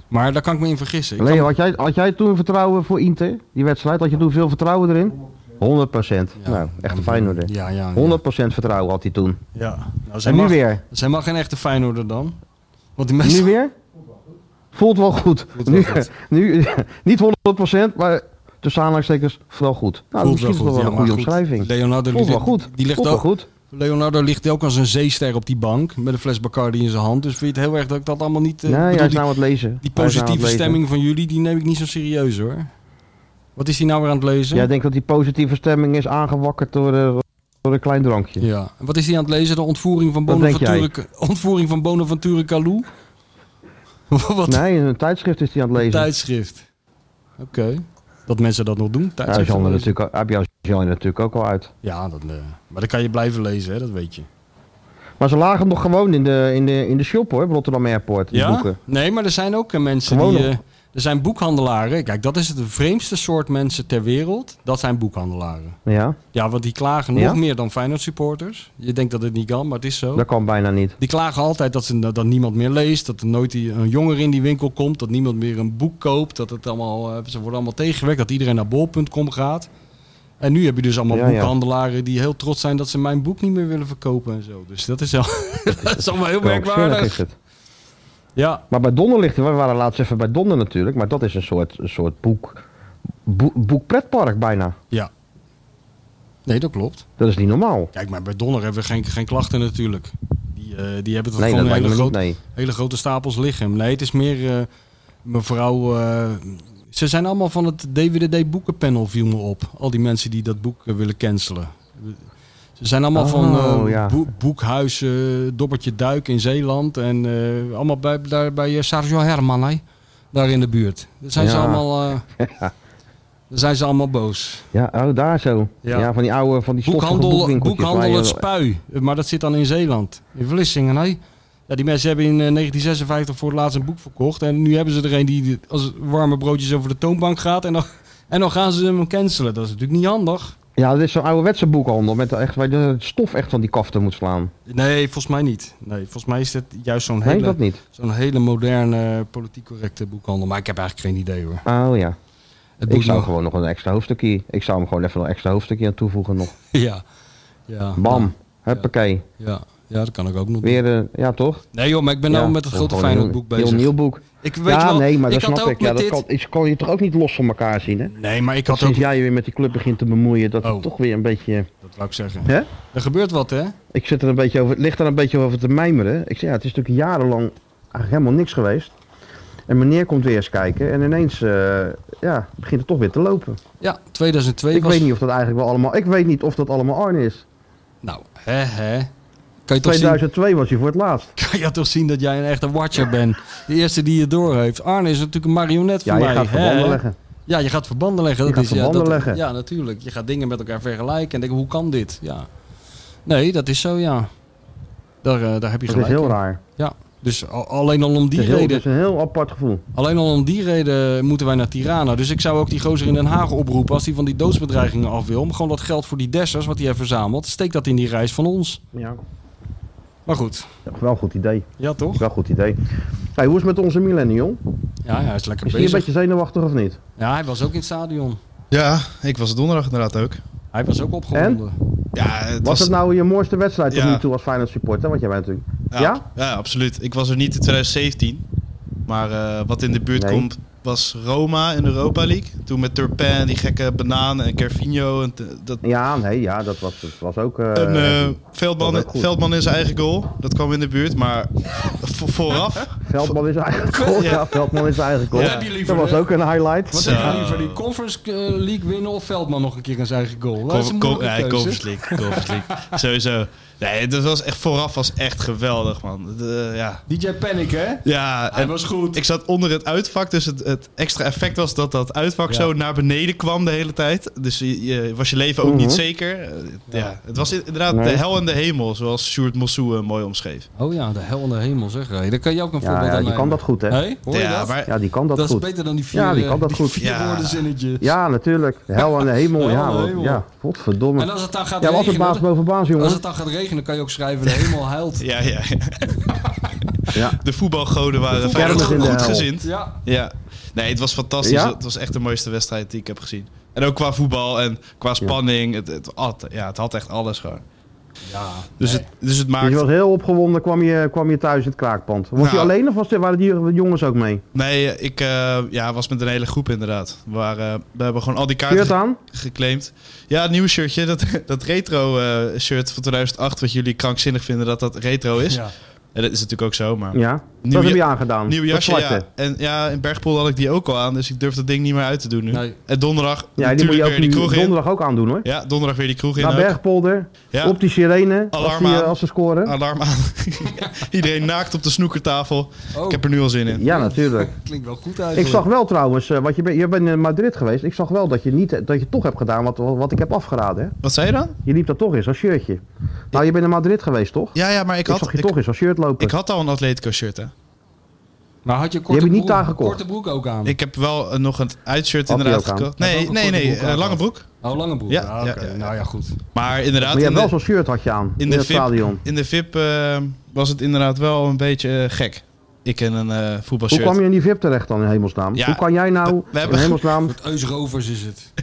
S4: Maar daar kan ik me in vergissen. Ik kan-
S3: Leo, had jij, had jij toen vertrouwen voor Inter, die wedstrijd? Had je toen veel vertrouwen erin? 100%.
S4: Ja.
S3: Nou, echt een Feyenoorder.
S4: Ja, ja, ja.
S3: 100% vertrouwen had hij toen.
S4: Ja. Nou, zij,
S3: En nu
S4: mag,
S3: weer?
S4: zij mag geen echte Feyenoorder dan. Want die [laughs] mensen...
S3: Nu weer? Voelt wel goed.
S4: wel
S3: nu,
S4: goed.
S3: [laughs] nu, niet 100%, maar tussen aanhalingstekens wel goed. Nou,
S4: Voelt
S3: misschien is
S4: wel
S3: dat wel
S4: goed, ja,
S3: een
S4: maar
S3: goede
S4: goed.
S3: omschrijving.
S4: Leonardo,
S3: Voelt wel
S4: ligt-
S3: goed.
S4: Die ligt
S3: Voelt wel
S4: ook,
S3: goed.
S4: Leonardo ligt ook als een zeester op die bank met een fles Bacardi in zijn hand. Dus vind je het heel erg dat ik dat allemaal niet... eh,
S3: Nee,
S4: bedoel,
S3: hij is
S4: die,
S3: nou aan het lezen.
S4: die
S3: Hij is nou aan het
S4: positieve
S3: lezen.
S4: stemming van jullie, die neem ik niet zo serieus hoor. Wat is hij nou weer aan het lezen?
S3: Jij denkt dat die positieve stemming is aangewakkerd door, eh, door een klein drankje.
S4: Ja. Wat is hij aan het lezen? De ontvoering van
S3: Wat denk jij?
S4: Bonaventure, ontvoering van Bonaventure Calou? [laughs] Wat
S3: Nee, in een tijdschrift is hij aan het
S4: een
S3: lezen.
S4: tijdschrift. Oké. Dat mensen dat nog doen.
S3: Ja,
S4: Tijdschrift
S3: Jan er
S4: lezen.
S3: natuurlijk, ook- heb je Jan er natuurlijk ook al uit.
S4: Ja, dat, eh, maar dan kan je blijven lezen, hè, dat weet je.
S3: Maar ze lagen nog gewoon in de, in de, in de shop hoor, op Rotterdam Airport. Die boeken.
S4: Nee, maar er zijn ook eh, mensen
S3: Gewoon
S4: die...
S3: nog.
S4: eh, er zijn boekhandelaren. Kijk, dat is het vreemdste soort mensen ter wereld. Dat zijn boekhandelaren.
S3: Ja,
S4: Ja, want die klagen
S3: Ja?
S4: nog meer dan Feyenoord supporters. Je denkt dat het niet kan, maar het is zo.
S3: dat kan bijna niet.
S4: Die klagen altijd dat, ze, dat niemand meer leest, dat er nooit die- een jongere in die winkel komt, dat niemand meer een boek koopt, dat het allemaal, eh, ze worden allemaal tegengewerkt, dat iedereen naar bol.com gaat. En nu heb je dus allemaal
S3: Ja, ja.
S4: boekhandelaren die heel trots zijn dat ze mijn boek niet meer willen verkopen en zo. Dus dat is, wel, [laughs] dat is allemaal heel
S3: Krankzinnig
S4: merkwaardig.
S3: is het.
S4: Ja,
S3: Maar bij Donner ligt, we waren laatst even bij Donner natuurlijk, maar dat is een soort, een soort boek, boek, boekpretpark bijna.
S4: ja. Nee, dat klopt.
S3: Dat is niet normaal.
S4: Kijk, maar bij Donner hebben we geen, geen klachten natuurlijk. Die, eh, die hebben toch
S3: Nee,
S4: gewoon
S3: dat lijkt
S4: een hele
S3: me niet.
S4: grote,
S3: Nee.
S4: hele grote stapels liggen. Nee, het is meer eh, mevrouw. eh, ze zijn allemaal van het DWDD boekenpanel viel me op. Al die mensen die dat boek eh, willen cancelen. Ze zijn allemaal
S3: Oh,
S4: van eh,
S3: ja.
S4: boe- boekhuizen, Dobbertje Duik in Zeeland en eh, allemaal bij, daar bij eh, Sergio Herman, hè? daar in de buurt. Daar zijn ze
S3: [laughs] Ja.
S4: allemaal. eh, Daar zijn ze allemaal boos.
S3: Ja, oh, daar zo.
S4: Ja.
S3: Ja. van die oude, van die stoffige
S4: Boekhandel,
S3: boekwinkeltjes. waar
S4: boekhandel
S3: je-
S4: het spui. Maar dat zit dan in Zeeland. In Vlissingen, hè? Ja, die mensen hebben in eh, 1956 voor het laatst een boek verkocht. En nu hebben ze er een die als warme broodjes over de toonbank gaat. En dan, [laughs] en dan gaan ze hem cancelen. Dat is natuurlijk niet handig.
S3: Ja, dit is zo'n ouderwetse boekhandel met echt, waar je het stof echt van die kaften moet slaan.
S4: Nee, volgens mij niet. Nee, volgens mij is dit juist zo'n
S3: Nee,
S4: hele,
S3: dat niet.
S4: zo'n hele moderne, eh, politiek correcte boekhandel. Maar ik heb eigenlijk geen idee hoor.
S3: Oh ja.
S4: Het
S3: Ik
S4: boek
S3: zou
S4: nog-
S3: gewoon nog een extra hoofdstukje. Ik zou hem gewoon even een extra hoofdstukje aan toevoegen nog.
S4: [laughs] Ja. Ja,
S3: Bam. Huppakee.
S4: Ja, ja, dat kan ik ook nog doen.
S3: Weer, eh, ja toch?
S4: Nee joh, maar ik ben
S3: ja,
S4: nou met het
S3: gewoon
S4: grote
S3: een heel-
S4: Feyenoord boek bezig.
S3: Heel nieuw boek.
S4: Ik weet
S3: ja,
S4: wel,
S3: nee, maar
S4: ik
S3: dat
S4: had
S3: snap
S4: ook
S3: ik. Ja,
S4: met
S3: dat
S4: dit-
S3: kan, is- kan je toch ook niet los van elkaar zien, hè?
S4: Nee, maar ik had ook...
S3: Sinds jij weer met die club begint te bemoeien, dat
S4: Oh.
S3: het toch weer een beetje...
S4: Dat wou ik zeggen.
S3: Hè?
S4: Er gebeurt wat, hè?
S3: Ik zit er een beetje over, ligt er een beetje over te mijmeren. Ik zeg, ja, het is natuurlijk jarenlang eigenlijk helemaal niks geweest. En meneer komt weer eens kijken en ineens eh, ja, begint het toch weer te lopen.
S4: Ja, 2002
S3: Ik
S4: was...
S3: weet niet of dat eigenlijk wel allemaal... Ik weet niet of dat allemaal Arne is.
S4: Nou, hè, hè. Kan je, toch zien,
S3: 2002 was hij voor het laatst.
S4: kan je toch zien dat jij een echte watcher bent? De eerste die je door heeft. Arne is natuurlijk een marionet
S3: Ja,
S4: voor
S3: je
S4: mij.
S3: gaat
S4: hè?
S3: verbanden leggen.
S4: Ja, je gaat verbanden leggen.
S3: Je
S4: dat
S3: gaat
S4: is, ja,
S3: verbanden
S4: dat-
S3: leggen.
S4: Ja, natuurlijk. Je gaat dingen met elkaar vergelijken en denken, hoe kan dit? Ja. Nee, dat is zo, ja. Daar, eh, daar heb je
S3: Dat
S4: gelijk
S3: is heel
S4: in.
S3: raar.
S4: Dus al- alleen al om die
S3: Het is heel-
S4: reden
S3: Het is een heel apart gevoel.
S4: Alleen al om die reden moeten wij naar Tirana. Dus ik zou ook die gozer in Den Haag oproepen als hij van die doodsbedreigingen af wil. Om gewoon dat geld voor die dessers wat hij heeft verzameld. Steek dat in die reis van ons.
S3: Ja.
S4: Maar goed,
S3: Wel een goed idee.
S4: ja toch?
S3: Wel een goed idee. Hey, hoe is het met onze millennial?
S4: Ja, hij is lekker
S3: Is hij een
S4: bezig.
S3: beetje zenuwachtig of niet?
S4: Ja, hij was ook in het stadion.
S5: Ja, ik was donderdag inderdaad ook.
S4: Hij was ook opgewonden.
S5: Ja, het
S3: Was het nou je mooiste wedstrijd tot
S5: Ja.
S3: nu toe als Feyenoord supporter? Want jij bent natuurlijk...
S5: Ja,
S3: nou? Ja?
S5: absoluut. Ik was er niet in 2017. Maar eh, wat in de buurt
S3: Nee.
S5: komt was Roma in de Europa League. Toen met Turpin, die gekke banaan en Cervinho. En te- dat,
S3: Ja, nee, ja, dat was, dat was ook... eh,
S5: en, eh, Veldman,
S3: dat was ook goed.
S5: Veldman in zijn eigen goal. Dat kwam in de buurt. Maar vo- vooraf...
S3: Veldman is eigenlijk goal. [laughs] Ja. Veldman is eigenlijk goal.
S5: Wat heb je
S4: liever,
S3: dat was
S4: hè?
S3: ook een highlight.
S4: Wat
S5: Zo.
S4: heb je liever, die Conference eh, League winnen of Veldman nog een keer in zijn eigen goal? Dat is een
S5: Kom- kom-
S4: moeilijke
S5: ja,
S4: keuze. [laughs]
S5: Conference League. Conference League. Sowieso. Nee, dat was echt vooraf was echt geweldig, man. De- ja.
S6: DJ Panic, hè?
S5: Ja,
S6: Hij
S5: en
S6: was goed.
S5: ik zat onder het uitvak, dus het, het extra effect was dat dat uitvak zo naar beneden kwam de hele tijd. Dus je, je- was je leven ook niet
S3: Mhm.
S5: zeker. Eh, ja. het was inderdaad
S3: Nee.
S5: de hel en de hemel, zoals Sjoerd Mossou eh, mooi omschreef.
S4: Oh ja, de hel en de hemel zeg. Hey, daar kan je ook een
S3: Ja,
S4: voorbeeld
S3: ja,
S4: aan
S3: die
S4: nemen.
S3: kan dat goed, hè?
S4: Hey? Hoor je
S5: ja,
S4: dat?
S5: maar
S3: Ja, die kan dat,
S4: dat is
S3: goed.
S4: beter dan die vier,
S3: Ja, die kan dat
S4: eh,
S3: goed.
S4: vier
S5: Ja.
S4: woorden zinnetjes.
S3: Ja, natuurlijk. Hel en de hemel.
S4: Hel en
S3: ja,
S4: de
S3: wat-
S4: hemel.
S3: ja, godverdomme.
S4: En als het dan gaat
S3: ja, wat een
S4: regenen,
S3: baas boven baas, jongen.
S4: als het dan gaat regenen, kan je ook schrijven de hemel huilt.
S5: ja, ja, ja.
S3: Ja.
S5: [laughs] de voetbalgoden waren
S3: Kermis
S5: veilig
S3: in de
S5: goed
S3: hel.
S5: gezind.
S4: Ja.
S5: [laughs] Ja. Nee, het was fantastisch.
S3: Ja?
S5: Het was echt de mooiste wedstrijd die ik heb gezien. En ook qua voetbal en qua spanning. Het, het, had, ja, het had echt alles gewoon.
S4: Ja.
S5: Dus, het, dus het
S3: Dus
S5: maakt...
S3: je was heel opgewonden, kwam je, kwam je thuis in het kraakpand. Was je
S5: Nou.
S3: alleen of was er, waren die jongens ook mee?
S5: Nee, ik eh, ja, was met een hele groep inderdaad. We, waren, eh, we hebben gewoon al die kaarten
S3: Shirt aan?
S5: ge- geclaimd. Ja, het nieuwe shirtje. Dat, [laughs] dat retro eh, shirt van 2008, wat jullie krankzinnig vinden dat dat retro is.
S4: Ja.
S5: En dat is natuurlijk ook zo, maar...
S3: Ja.
S5: Nieuw
S3: dat heb
S5: ja-
S3: je aangedaan.
S5: Nieuw
S3: Dat
S5: jasje,
S3: zwarte.
S5: ja. En ja, in Bergpool had ik die ook al aan, dus ik durf dat ding niet meer uit te doen nu.
S4: Nee.
S5: En donderdag
S3: Ja, die moet
S5: natuurlijk
S3: je ook
S5: weer die
S3: nu
S5: kroeg in.
S3: donderdag ook aandoen hoor.
S5: Ja, donderdag weer die kroeg in.
S3: Naar
S5: ook.
S3: Bergpolder,
S5: Ja,
S3: op die sirene, als,
S5: Alarm
S3: die, eh,
S5: aan.
S3: als ze scoren.
S5: [laughs] alarm aan. Iedereen naakt op de snoekertafel.
S4: Oh,
S5: Ik heb er nu al zin in.
S3: Ja, natuurlijk.
S4: klinkt wel goed eigenlijk.
S3: Ik zag wel trouwens, eh, want je, bent- je bent in Madrid geweest, ik zag wel dat je, niet, eh, dat je toch hebt gedaan wat, wat ik heb afgeraden. Hè?
S5: Wat zei je dan?
S3: Je liep daar toch eens als shirtje. Nou, je bent in Madrid geweest toch?
S5: Ja, ja, maar
S3: Ik,
S5: ik
S3: zag
S5: had,
S3: je
S5: ik,
S3: toch eens als shirt lopen.
S5: ik had al een Atletico shirt, hè.
S4: Maar had je korte,
S3: hebt niet
S4: broek,
S3: daar gekocht.
S4: korte broek ook aan?
S5: Ik heb wel eh, nog een uitshirt
S3: Had die
S5: inderdaad
S3: ook aan?
S5: gekocht.
S4: Had
S5: Nee,
S4: ook een
S5: nee,
S4: korte
S5: nee,
S4: broek
S5: eh,
S4: aan.
S5: lange broek.
S4: Oh, lange broek.
S5: Ja,
S4: Ja, oké.
S5: ja, ja, ja.
S4: Nou ja, goed.
S5: Maar inderdaad,
S3: maar je hebt
S5: in
S3: wel
S5: de,
S3: zo'n shirt had je aan in,
S5: de
S3: het
S5: VIP
S3: stadion.
S5: in de VIP eh, was het inderdaad wel een beetje eh, gek. Ik in een eh,
S3: Hoe
S5: voetbalshirt.
S3: kwam je in die VIP terecht dan in hemelsnaam?
S5: Ja,
S3: Hoe kan jij nou
S5: we- we hebben-
S3: in hemelsnaam...
S4: Met Eus Rovers is het.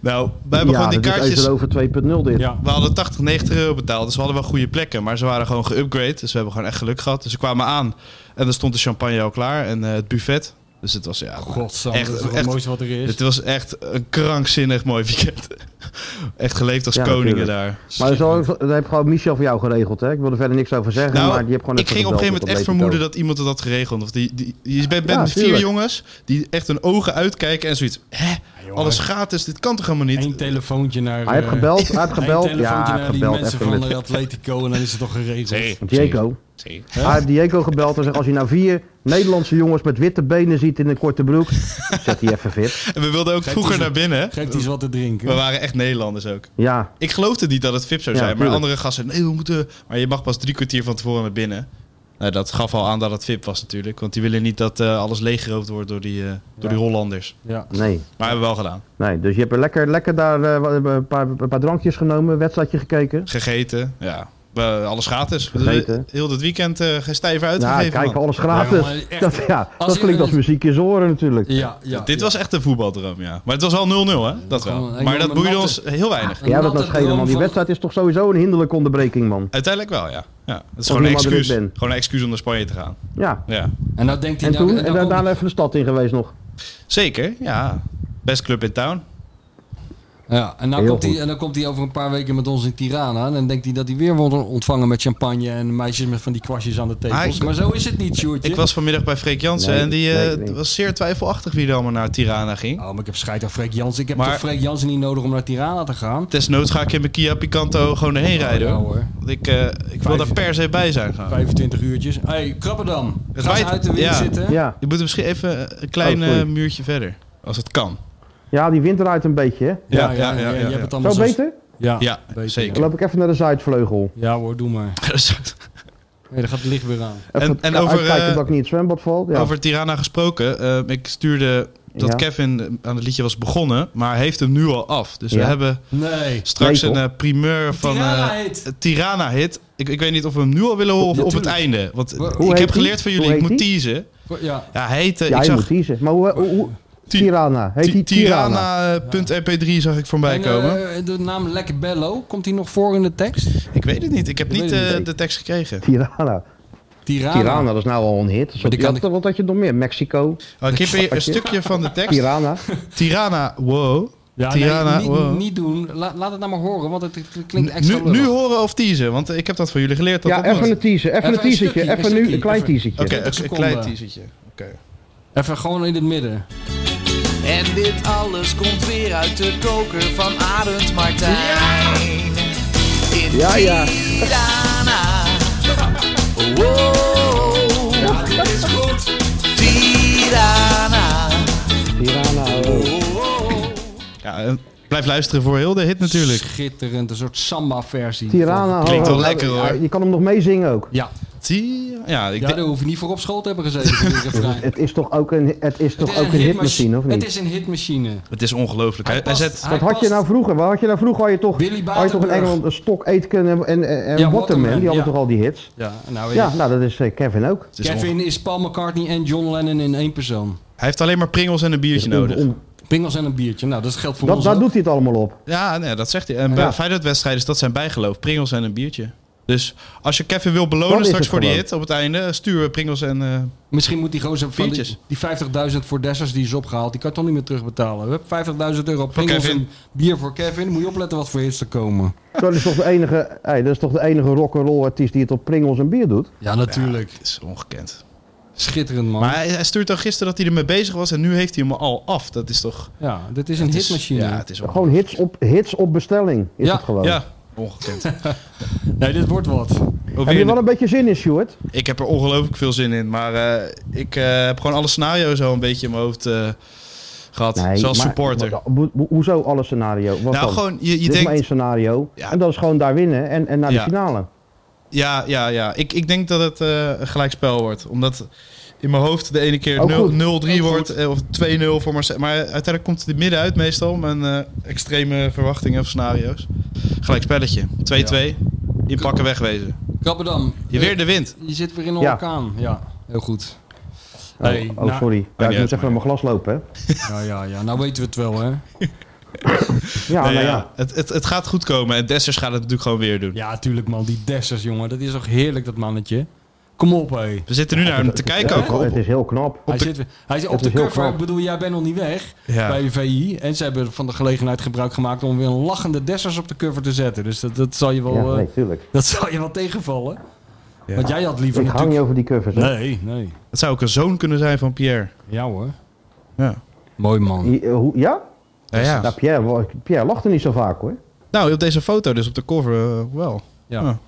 S5: Nou, we hebben
S3: ja, dus
S5: gewoon die
S3: dit is
S5: kaartjes...
S3: over 2.0 dit.
S4: Ja.
S5: We hadden 80, 90 euro betaald, dus we hadden wel goede plekken. Maar ze waren gewoon geüpgrade, dus we hebben gewoon echt geluk gehad. Dus ze kwamen aan en er stond de champagne al klaar en eh, het buffet. Dus het was, ja,
S4: Godsam,
S5: Echt,
S4: dat is toch
S5: echt.
S4: het mooiste wat er is.
S5: het was echt een krankzinnig mooi weekend. [laughs] echt geleefd als
S3: Ja,
S5: koningen
S3: Maar
S5: daar.
S3: dat, is wel- dat heeft gewoon Michel voor jou geregeld, hè? Ik wil er verder niks over zeggen,
S5: Nou,
S3: maar die heeft gewoon...
S5: ik ging op een gegeven moment echt vermoeden dat iemand het had geregeld. Of die, die, je bent bent met vier
S3: tuurlijk.
S5: jongens die echt hun ogen uitkijken en zoiets. Hè,
S4: Ja, jongen,
S5: alles gratis, dit kan toch helemaal niet?
S4: Eén telefoontje naar...
S3: Hij heeft
S4: eh,
S3: gebeld, hij heeft
S4: één
S3: gebeld.
S4: telefoontje
S3: Ja, hij
S4: naar
S3: heeft
S4: die
S3: gebeld,
S4: mensen
S3: even
S4: van
S3: met
S4: de Atletico en dan is het toch geregeld.
S3: Diego.
S5: Zee.
S3: Hij heeft Diego gebeld en zegt, als je nou vier Nederlandse jongens met witte benen ziet in een korte broek, zet die even fit.
S5: En we wilden ook
S4: Geef
S5: vroeger
S4: die-
S5: naar binnen. hè?
S4: Geef die eens wat te
S5: We
S4: drinken.
S5: waren echt Nederlanders ook.
S3: Ja,
S5: Ik geloofde niet dat het VIP zou
S3: Ja,
S5: zijn, maar
S3: tuurlijk.
S5: andere gasten, nee, we moeten... Maar je mag pas drie kwartier van tevoren naar binnen. Nou, dat gaf al aan dat het VIP was natuurlijk, want die willen niet dat eh, alles leeggeroofd wordt door die, eh, door die Hollanders.
S4: Ja.
S3: nee.
S5: Maar hebben we wel gedaan.
S3: Nee, dus je hebt er lekker, lekker daar eh, wat- een, paar, een paar drankjes genomen, wedstrijdje gekeken.
S5: Gegeten, ja. We- alles gratis.
S3: Gegeten.
S5: Heel dit weekend eh geen stijf uitgegeven.
S3: Ja, Nou, kijk,
S5: man.
S3: alles gratis. [laughs]
S4: Ja, jongen, echt.
S3: dat, ja,
S4: Als
S3: dat
S4: je-
S3: klinkt als muziek in zijn oren natuurlijk.
S4: Ja, ja.
S5: Dit was echt een voetbaldroom, ja. Maar het was al 0-0, hè? Dat
S4: Gewoon
S5: wel.
S4: een
S5: Maar dat
S4: enorme
S5: boeide ons
S4: natte-
S5: heel weinig.
S3: Ja, dat
S4: Omdat
S3: dat
S4: het
S3: schelen, man. Die
S4: gewoon
S3: wedstrijd is toch sowieso een hinderlijke onderbreking, man.
S5: Uiteindelijk wel, ja. ja. Het is
S3: Of
S5: gewoon een
S3: je Madrid
S5: excuus.
S3: bent.
S5: Gewoon een excuus om naar Spanje te gaan.
S3: Ja.
S5: Ja.
S4: En nou denkt hij...
S3: En
S4: nou-
S3: toen, en
S4: en nou
S3: daar-
S4: komt-
S3: daarna even de stad in geweest nog.
S5: Zeker, ja. Best club in town.
S4: Ja, en, nou
S3: Heel
S4: komt hij,
S3: goed.
S4: en dan komt hij over een paar weken met ons in Tirana. En dan denkt hij dat hij weer wordt ontvangen met champagne en meisjes met van die kwastjes aan de
S5: Ah,
S4: tepels.
S5: ik-
S4: maar zo is het niet, Sjoerdje.
S5: Ik was vanmiddag bij Freek Jansen
S3: Nee,
S5: en die
S3: nee,
S5: eh,
S3: nee.
S5: was zeer twijfelachtig wie er allemaal naar Tirana ging.
S4: Oh, maar ik heb scheid aan Freek Jansen. Ik heb
S5: Maar-
S4: toch Freek Jansen niet nodig om naar Tirana te gaan?
S5: Desnoods ga ik in mijn Kia Picanto gewoon erheen rijden.
S4: Oh, Ja,
S5: hoor.
S4: hoor.
S5: Want ik, eh, ik wil daar per se bij zijn gaan.
S4: 25 uurtjes. Hé, hey, Krabberdam.
S5: Het
S4: Ga eens
S5: waait-
S4: uit de wind
S5: ja.
S4: zitten.
S3: Ja.
S5: Je moet er misschien even een klein
S3: Oh, sorry.
S5: eh, muurtje verder. Als het kan.
S3: ja, die wind eruit een beetje, hè.
S4: Ja, ja,
S5: Ja, ja, ja,
S4: Je
S5: ja.
S4: hebt het allemaal
S3: Zo beter?
S4: Ja,
S5: Ja,
S4: beter,
S5: zeker.
S3: Dan loop ik even naar de zuidvleugel.
S4: Ja. Ja, hoor, doe maar.
S5: [laughs]
S4: Nee, daar gaat het licht weer aan.
S3: Even
S5: En- en
S3: ka-
S5: over,
S3: uitkijken
S5: eh,
S3: dat ik niet in het zwembad val. Ja.
S5: Over Tirana gesproken. eh, ik stuurde dat
S3: Ja.
S5: Kevin aan het liedje was begonnen, maar hij heeft hem nu al af. Dus we
S3: Ja.
S5: hebben
S4: Nee.
S5: straks
S3: Nee,
S5: een
S3: toch?
S5: eh, primeur van eh,
S4: Tirana-hit.
S5: een Tirana-hit. Ik, ik weet niet of we hem nu al willen horen of op het
S4: Natuurlijk.
S5: einde. Want
S4: Hoe
S5: ik
S3: heet
S5: heb
S3: die?
S5: geleerd van jullie,
S3: Hoe
S5: ik
S3: heet
S5: moet teasen.
S4: Ja.
S5: Ja, hij heet, eh,
S3: ja,
S5: ik
S3: je moet
S5: zag
S3: kiezen. Maar hoe... hoe, hoe-
S5: Ti-
S3: Tirana. Heet die Tirana?
S5: Tirana.mp3 zag ik voorbij
S4: En, eh,
S5: komen.
S4: de naam Lekke Bello, komt die nog voor in de tekst?
S5: Ik weet het niet. Ik heb
S4: ik
S5: niet
S4: weet het
S5: eh,
S3: niet.
S5: de tekst gekregen.
S3: Tirana. Tirana, dat is nou al een hit.
S4: Maar die kan
S3: Ja, Wat had je nog meer? Mexico,
S5: Oh, ik heb hier een stukje van de tekst.
S3: Tirana.
S5: Tirana, wow.
S4: Ja,
S5: Tirana,
S4: nee, niet,
S5: wow.
S4: niet doen. La- laat het nou maar horen, want het het klinkt echt
S5: Nu, nu horen of teasen, want ik heb dat van jullie geleerd. Dat
S3: Ja,
S5: dat
S3: even
S5: moet.
S3: een teaser. Even
S4: Even
S3: een
S4: een
S3: teasertje.
S4: stukje,
S3: Even
S4: een
S3: nu een
S4: stukje,
S3: klein
S4: even.
S3: teasertje.
S5: Oké,
S4: Twintig
S5: een- een klein
S4: seconden.
S5: teasertje. Oké.
S4: Even gewoon in het midden.
S7: En dit alles komt weer uit de koker van Arend Martijn. in
S3: Ja, ja.
S7: Tirana. Wow. Ja, dit is goed. Tirana.
S3: Tirana. eh,
S5: Ja, en blijf luisteren voor heel de hit natuurlijk.
S4: Schitterend, een soort samba-versie.
S3: Tirana.
S5: Klinkt
S3: oh,
S5: wel
S3: oh,
S5: lekker,
S3: ja,
S5: hoor.
S3: Je kan hem nog meezingen ook.
S4: Ja,
S5: Tia- Ja, ik
S4: ja,
S5: denk-
S4: daar hoef je niet voor op school te hebben gezeten. voor
S5: [laughs]
S4: dit refrein.
S3: Het is toch ook een, het is toch
S4: Het is
S3: ook een hitmachine,
S4: hitmachi-
S3: of niet?
S4: Het is een hitmachine.
S5: het is ongelooflijk. Hij, hij
S4: past-
S5: zet...
S3: Wat had je
S4: past-
S3: nou vroeger? Waar had je nou vroeger? Had je toch,
S4: Billy
S3: had je toch in
S4: Batenburg.
S3: Engeland een stok Aitken en, en, en- en Waterman?
S4: Ja, Waterman,
S3: Die hadden
S4: ja.
S3: toch al die hits?
S4: Ja, nou,
S3: Ja, nou dat is eh, Kevin ook.
S5: het is onge-
S4: Kevin is Paul McCartney en John Lennon in één persoon.
S5: Hij heeft alleen maar pringels en een biertje
S3: Om-
S5: nodig.
S3: om-
S4: Pingels en een biertje. Nou, dat geldt voor
S3: dat,
S4: ons
S3: daar
S4: ook.
S3: doet hij het allemaal op.
S5: Ja, nee, dat zegt hij. En bij
S3: Ja.
S5: Feyenoord-wedstrijden is dat zijn bijgeloof. Pringels en een biertje. Dus als je Kevin wil
S3: Dan
S5: belonen
S3: is
S5: straks
S3: het
S5: voor die
S3: gewoon.
S5: hit op het einde, stuur we pringels en... eh,
S4: Misschien moet die gozer van die,
S5: Biertjes.
S4: die 50.000 voor Dessers die is opgehaald, die kan toch niet meer terugbetalen. We hebben 50.000 euro pingels
S5: Kevin.
S4: en bier voor Kevin. Moet je opletten wat voor hits er komen.
S3: Dat is toch de enige, hey, dat is toch de enige rock'n'roll artiest die het op Pringles en bier doet?
S4: Ja, natuurlijk.
S5: het is ongekend.
S4: Schitterend, man.
S5: Maar hij, hij stuurt al gisteren dat hij ermee bezig was en nu heeft hij hem al af. Dat is toch...
S4: ja, dit is een
S5: het is-
S4: hitmachine.
S5: Ja, het is onge-
S3: Gewoon hits op, hits op bestelling is
S4: Ja,
S3: het gewoon.
S5: Ja,
S4: [laughs]
S5: ongekend. Oh,
S4: Nee, dit wordt wat.
S5: weer
S3: Heb je
S5: een-
S3: wel een beetje zin in, Stuart?
S5: Ik heb er ongelooflijk veel zin in, maar eh, ik eh, heb gewoon alle scenario's al een beetje in mijn hoofd eh, gehad. Zoals
S3: maar-
S5: supporter.
S3: maar- ho- ho- hoezo alle scenario? Wat
S5: nou,
S3: dan?
S5: gewoon, je, je
S3: Dit is maar
S5: denkt.
S3: één scenario.
S5: Ja.
S3: En dat is gewoon daar winnen en, en naar
S5: Ja.
S3: de finale. Oh,
S5: Ja, ja, ja. Ik, ik denk dat het eh, een gelijkspel wordt. Omdat in mijn hoofd de ene keer
S3: Ook
S5: nul-
S3: Oh, goed.
S5: 0-3 wordt eh, of 2-0 voor Marseille. Maar uiteindelijk komt het er midden uit meestal. Mijn eh, extreme verwachtingen of scenario's. Gelijkspelletje. 2-2. Inpakken, wegwezen.
S4: Krabbedam,
S5: Je weer de wind.
S4: je zit weer in een
S3: Ja.
S4: orkaan. Ja, heel goed.
S3: Oh,
S4: Hey,
S3: oh,
S4: nou-
S3: sorry. Ja,
S5: uit,
S3: ik moet
S5: maar-
S3: even naar mijn glas lopen. Hè.
S4: Ja, ja, ja. Nou weten we het wel, hè.
S3: Ja,
S5: Nee,
S3: nou ja.
S5: ja. Het, het, het gaat goed komen. En Dessers gaat het natuurlijk gewoon weer doen.
S4: Ja, tuurlijk, man. Die Dessers, jongen. Dat is toch heerlijk, dat mannetje. Kom op, hé.
S5: We zitten nu naar hem te kijken ook.
S3: Oh, Het
S5: Op,
S3: is heel knap.
S4: Hij
S5: de-
S4: zit, hij zit
S3: Het
S4: op de
S3: is heel
S4: cover.
S3: knap.
S4: Ik bedoel, jij bent nog niet weg
S5: Ja.
S4: bij de VI. En ze hebben van de gelegenheid gebruik gemaakt om weer een lachende Dessers op de cover te zetten. Dus dat, dat, zal, je wel,
S3: Ja,
S4: eh,
S3: nee, tuurlijk.
S4: dat zal je wel tegenvallen. Want jij had liever
S3: Ik hang niet
S4: natuurlijk...
S3: over die covers. hè.
S4: Nee, nee.
S5: het zou ook een zoon kunnen zijn van Pierre.
S4: Ja hoor.
S5: Ja.
S4: Mooi man.
S3: Je- eh, hoe- Ja?
S5: Ja, ja.
S3: Nou, Pierre, wa- Pierre lachte niet zo vaak hoor.
S5: Dus- Nou, op deze foto, dus op de cover eh, wel.
S4: Ja.
S5: Ja.